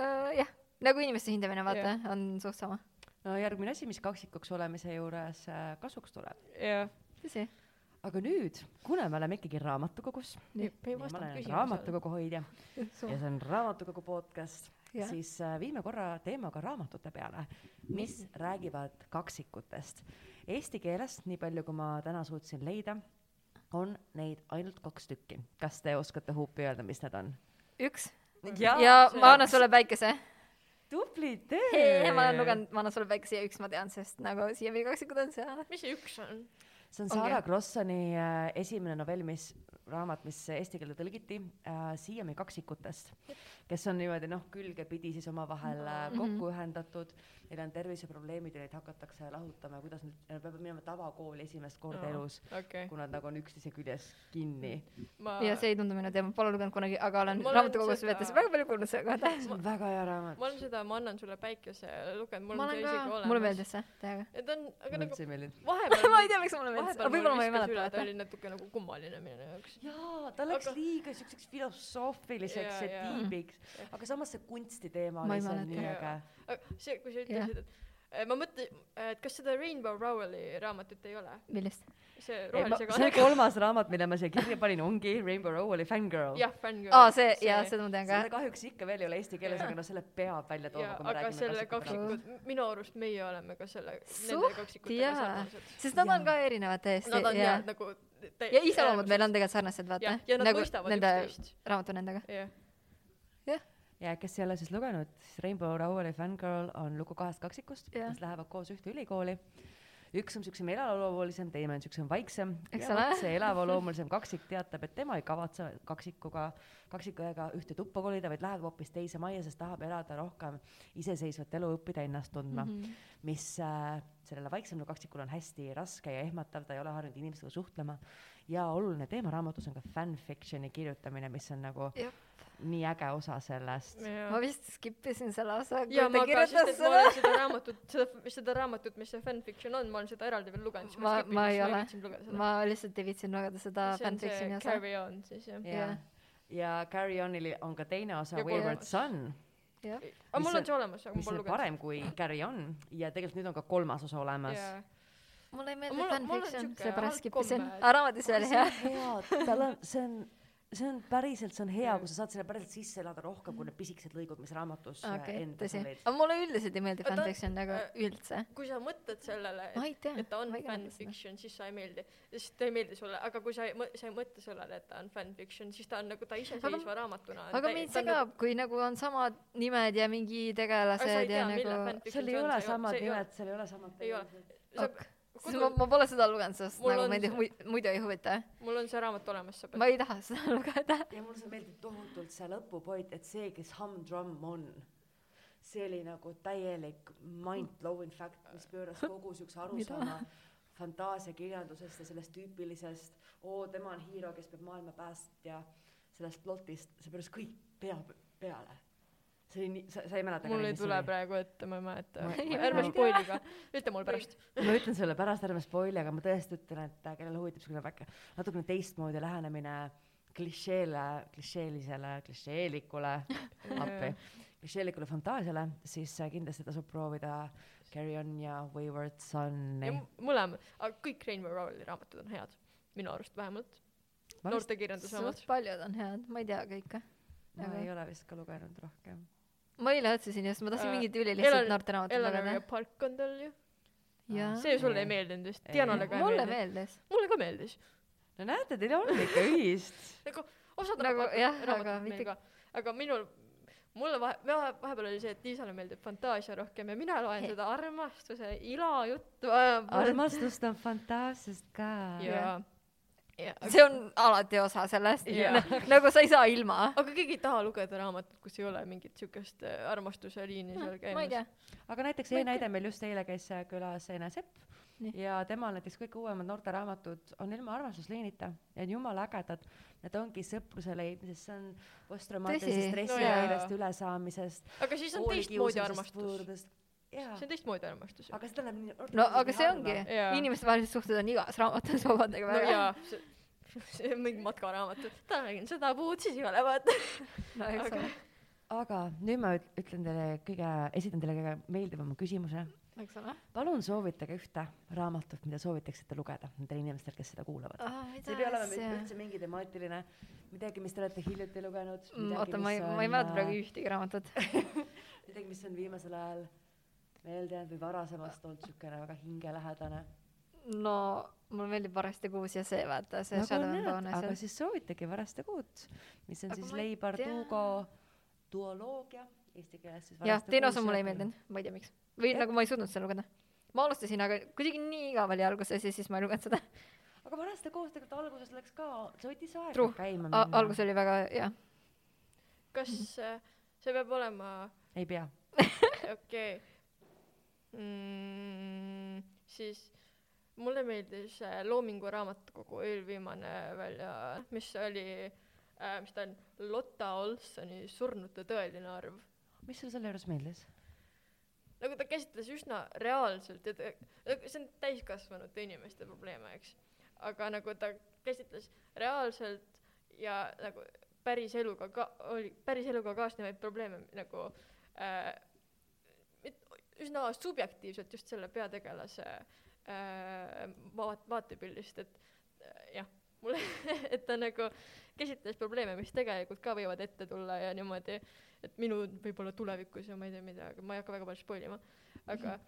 Äh, jah nagu inimeste hindamine vaata Jah. on suht sama no Äh, järgmine asi , mis kaksikuks olemise juures äh, kasuks tuleb . jah . tõsi aga nüüd , kuna me oleme ikkagi raamatukogus , me ei ma vastanud olen küsimusele . raamatukoguhoidja ja see on Raamatukogu podcast , Jah. siis äh, viime korra teemaga raamatute peale , mis räägivad kaksikutest . Eesti keeles , nii palju kui ma täna suutsin leida , on neid ainult kaks tükki . kas te oskate huupi öelda , mis need on ? üks ja, ja ma annan sulle päikese tubli töö hee ma olen . lugenud ma annan sulle päikese ja üks ma tean sest nagu siiamaani kaksikud on seal mis see üks on ? see on Ongi. Sarah Grossoni äh, esimene novell , mis raamat , mis eesti keelde tõlgiti äh, , Siiami kaksikutest , kes on niimoodi noh , külgepidi siis omavahel äh, Mhm. kokku ühendatud , neil on terviseprobleemid ja neid hakatakse lahutama ja kuidas nad , nad peavad minema tavakooli esimest korda Aa. elus , okei . kui nad nagu on üksteise küljes kinni . ma , ja see ei tundu minu teema , pole lugenud kunagi , aga olen Ma olen raamatukogus seda- veetes väga palju kuulnud selle kohta . see on väga hea raamat . ma olen seda Ma annan sulle päikese lugenud , mul ma on see olen isegi ka , olemas . mulle meeldis see täiega . ja ta on , aga mulle nagu üldse ei meeldinud . vahepeal ma ei tea , miks mulle meeldis , vahepeal aga mul võib-olla ma ei viskas üle , mäleta ta . oli natuke nagu kummaline minu jaoks . jaa , ta läks Aga- aga... liiga siukseks filosoofiliseks Jaa, ja, ja jaa. tiibiks , aga samas see kunsti teema Ma oli ei seal mäleta. nii Jaa. äge . see , kui sa Jah. ütlesid , et eh, ma mõtlen , et kas seda Rainbow Rowell'i raamatut ei ole ? millist ? see rohelise see kanega . kolmas raamat , mille ma siia kirja panin , ongi Rainbow Rowelli Fangirl . jah , Fangirl . aa , see , jaa , seda ma tean ka seda . kahjuks ikka veel ei ole eesti keeles , Jaa. aga no selle peab välja tooma , jaa , kui me aga selle räägime kaksikud , minu arust meie oleme ka selle , nende Suht kaksikutega jaa. sarnased . sest nad Jaa. on ka erinevad täiesti Nad on ja jah , nagu te- ja iseloomud meil on tegelikult sarnased , vaata jah , ja nad nagu mõistavad nende üksteist . raamat on endaga . jah , ja kes ei ole siis lugenud , siis Rainbow Rowelli Fangirl on lugu kahest kaksikust , Jah. kes lähevad koos ühte ülikooli . üks on siukse meeleolulisem , teine on siukse vaiksem . Eks ja ole. vot see elavloomulisem kaksik teatab , et tema ei kavatse kaksikuga , kaksikuõega ühte tuppa kolida , vaid läheb hoopis teise majja , sest tahab elada rohkem iseseisvat elu , õppida ennast tundma mm , Mhm. -hmm. mis äh, sellele vaiksemale kaksikule on hästi raske ja ehmatav , ta ei ole harjunud inimestega suhtlema . ja oluline teema raamatus on ka fanfiction'i kirjutamine , mis on nagu Jah. nii äge osa sellest . ma jaa . vist skip isin selle osa , kui ja ta ma ka , kirjutas sest et ma seda . olen seda raamatut , seda , seda raamatut , mis see fanfiction on , ma olen seda eraldi veel lugenud . ma , ma ei ole , ma lihtsalt ei viitsinud lugeda seda see on fanfiction'i see osa . Carry On siis jah . ja , ja Carry Onil on ka teine osa Ja Wayward kolmas. Son , aga Mis mul on- on see olemas , aga ma mis pole on lugenud . parem kui Carry On ja tegelikult nüüd on ka kolmas osa olemas . jaa , mulle ei meeldi Mul on- mul on fanfiction , siuke seepärast halb skip isin komme, . et- aga raamatis oli hea . hea , tal on , see on , see on päriselt , see on hea , kui sa saad selle päriselt sisse elada rohkem kui need pisikesed lõigud , mis raamatus äh, okei , endas tõsi . olid . aga mulle üldiselt ei meeldi Aga ta- fanfiction nagu äh, üldse . kui sa mõtled sellele , ma ei tea . et ta on fanfiction , siis sa ei meeldi , siis ta ei meeldi sulle , aga kui sa ei mõ- , sa ei mõtle sellele , et ta on fanfiction , siis ta on nagu ta iseseisva raamatuna . aga mind segab , kui nagu on samad nimed ja mingi tegelased ja nagu . seal ei ole samad nimed , seal ei ole samad Ei ole. siis ma , ma pole seda lugenud , sest Mul nagu on mind ei see- huvi- muidu ei huvita . mul on see raamat olemas , sa ma pead . ei taha seda lugeda . ja mulle see meeldib tohutult see lõpupoint , et see , kes Humdrum on , see oli nagu täielik mind-blowing fact , mis pööras kogu siukse arusaama fantaasiakirjandusest ja sellest tüüpilisest , oo , tema on hiiro , kes peab maailma päästja , sellest plotist , see pööras kõik pea peale . see oli nii , sa , sa ei mäleta . mul ei tule praegu ette , ma ei mäleta Ma- . ma- ärme ma- spoiliga , ütle mulle pärast . ma ütlen sulle pärast , ärme spoili , aga ma tõesti ütlen , et äh, kellele huvitab selline väike , natukene teistmoodi lähenemine klišeele , klišeelisele , klišeelikule , Äh, appi , klišeelikule fantaasiale , siis äh, kindlasti tasub proovida Carry On ja Wayward Sun'i . mõlemad , aga kõik Rainbow Rowelli raamatud on head , minu arust vähemalt . ma vist , noorte kirjanduse omad suht . paljud on head , ma ei tea kõike . ma aga- ei ole vist ka lugenud rohkem . ma eile otsisin just , ma tahtsin Äh, mingit ülilihtsat Eleanor- noorteraamatut Eleanor lugeda ja . Park on tal ju . Ah, jaa . see sulle Ei. ei meeldinud vist , Ei. Dianale ka ei mulle meeldinud . meeldis . mulle ka meeldis . no näete , teil on ikka ühist . nagu osad Nagu raamatud- jah, raamatud aga meil mitte- ka. aga minul mulle vahe- vahe- vahepeal oli see et Liisale meeldib fantaasia rohkem ja mina loen He- seda armastuse ila juttu äh, armastust on fantaasiast ka . ja ja see on alati osa sellest Jaa. . nagu sa ei saa ilma . aga keegi ei taha lugeda raamatut kus ei ole mingit siukest äh, armastuse liini seal ma ei tea käimas . aga näiteks Ma ei e-näide meil just eile käis äh, külas Ene Sepp Nii. ja temal näiteks kõik uuemad noorteraamatud on ilma armastusliinita ja on jumala ägedad . Need ongi sõpruse leidmisest , see on posttraumaatilisest Tõsi? stressihäirest No no, ülesaamisest . aga siis on teistmoodi armastus jaa see , on teistmoodi armastus aga seda läheb nii . no aga see ongi , Jaa. inimestevahelised suhted on igas raamatus vabandage no väga . jaa see see on mingi matkaraamat et täna räägin seda puud siis ei ole vaata no eks aga- ole , aga nüüd ma üt- ütlen teile kõige , esitan teile kõige meeldivama küsimuse . eks ole . palun soovitage ühte raamatut , mida soovitaksite lugeda nendel inimestel , kes seda kuulavad . see Ah, ei pea olema mi- üldse mingi temaatiline , midagi , mis te olete hiljuti lugenud . Mm, oota , ma ei , ma ei mäleta praegu ühtegi raamatut . äh, midagi , mis on viimasel ajal meelde jäänud või varasemast olnud siukene väga hingelähedane . no mulle meeldib Varasti kuus ja see vaata , see Shadow and Nagu aga Bones . siis soovitage Varaste kuud , mis on Aga aga siis ma ei Leibar tea. Tuugo duoloogia eesti keeles siis . jah , teine osa mulle ei meeldinud , ma ei tea , miks . või Jah. Mm. nagu ma ei suutnud seda lugeda . ma alustasin , aga kuidagi nii igav oli alguses ja siis ma ei lugenud seda . aga vanaste koos tegelikult alguses läks ka , see võttis aega True. käima A- algus . oli väga hea . kas äh, see peab olema , ei pea . okei mm, , siis mulle meeldis äh, Loomingu raamatukogu eelviimane välja , mis oli äh, , mis ta on , Lotta Olsoni Surnute tõeline arv . mis sulle selle juures meeldis ? nagu ta käsitles üsna reaalselt ja ta , see on täiskasvanute inimeste probleeme , eks . aga nagu ta käsitles reaalselt ja nagu päriseluga ka , oli päriseluga kaasnevaid probleeme nagu äh, mit- üsna subjektiivselt just selle peategelase äh, vaat- , vaatepildist , et äh, jah , mulle , et ta nagu käsitles probleeme , mis tegelikult ka võivad ette tulla ja niimoodi et minu võib-olla tulevikus ja ma ei tea mida , aga ma ei hakka väga palju spoil ima . aga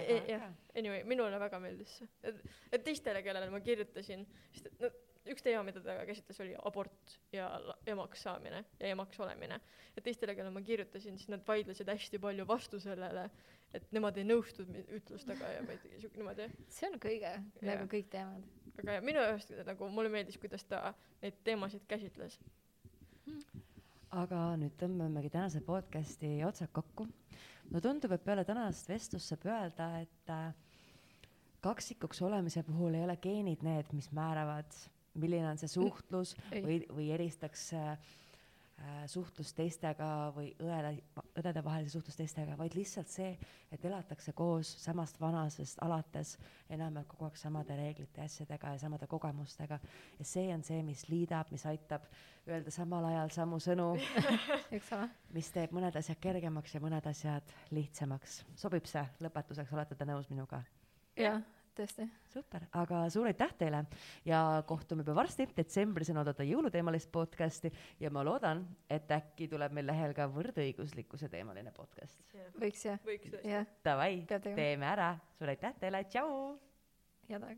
E- jah. anyway , minule väga meeldis see . et , et teistele , kellele ma kirjutasin , sest et no üks teema , mida ta käsitles , oli abort ja la- emaks saamine ja emaks olemine . et teistele , kellele ma kirjutasin , siis nad vaidlesid hästi palju vastu sellele , et nemad ei nõustunud mi- ütlustega ja ma ei tea , siuke niimoodi . see on kõige , Jah. nagu kõik teemad . aga minu jaoks nagu mulle meeldis , kuidas ta neid teemasid käsitles . aga nüüd tõmbamegi tänase podcasti otsad kokku . no tundub , et peale tänast vestlust saab öelda , et äh, kaksikuks olemise puhul ei ole geenid need , mis määravad , milline on see suhtlus ei. või , või eristaks äh, äh, suhtlust teistega või õele , õdedevahelise suhtlust teistega , vaid lihtsalt see , et elatakse koos samast vanasest alates enam-vähem kogu aeg samade reeglite ja asjadega ja samade kogemustega . ja see on see , mis liidab , mis aitab öelda samal ajal samu sõnu eks ole . mis teeb mõned asjad kergemaks ja mõned asjad lihtsamaks . sobib see lõpetuseks , olete te nõus minuga ? jah , tõesti . super , aga suur aitäh teile ja kohtume juba varsti , detsembris on oodata jõuluteemalist podcasti ja ma loodan , et äkki tuleb meil lehel ka võrdõiguslikkuse teemaline podcast . võiks jah , võiks tõesti . jah , Davai , Peab tegema. teeme ära , suur aitäh teile , tšau . head aega .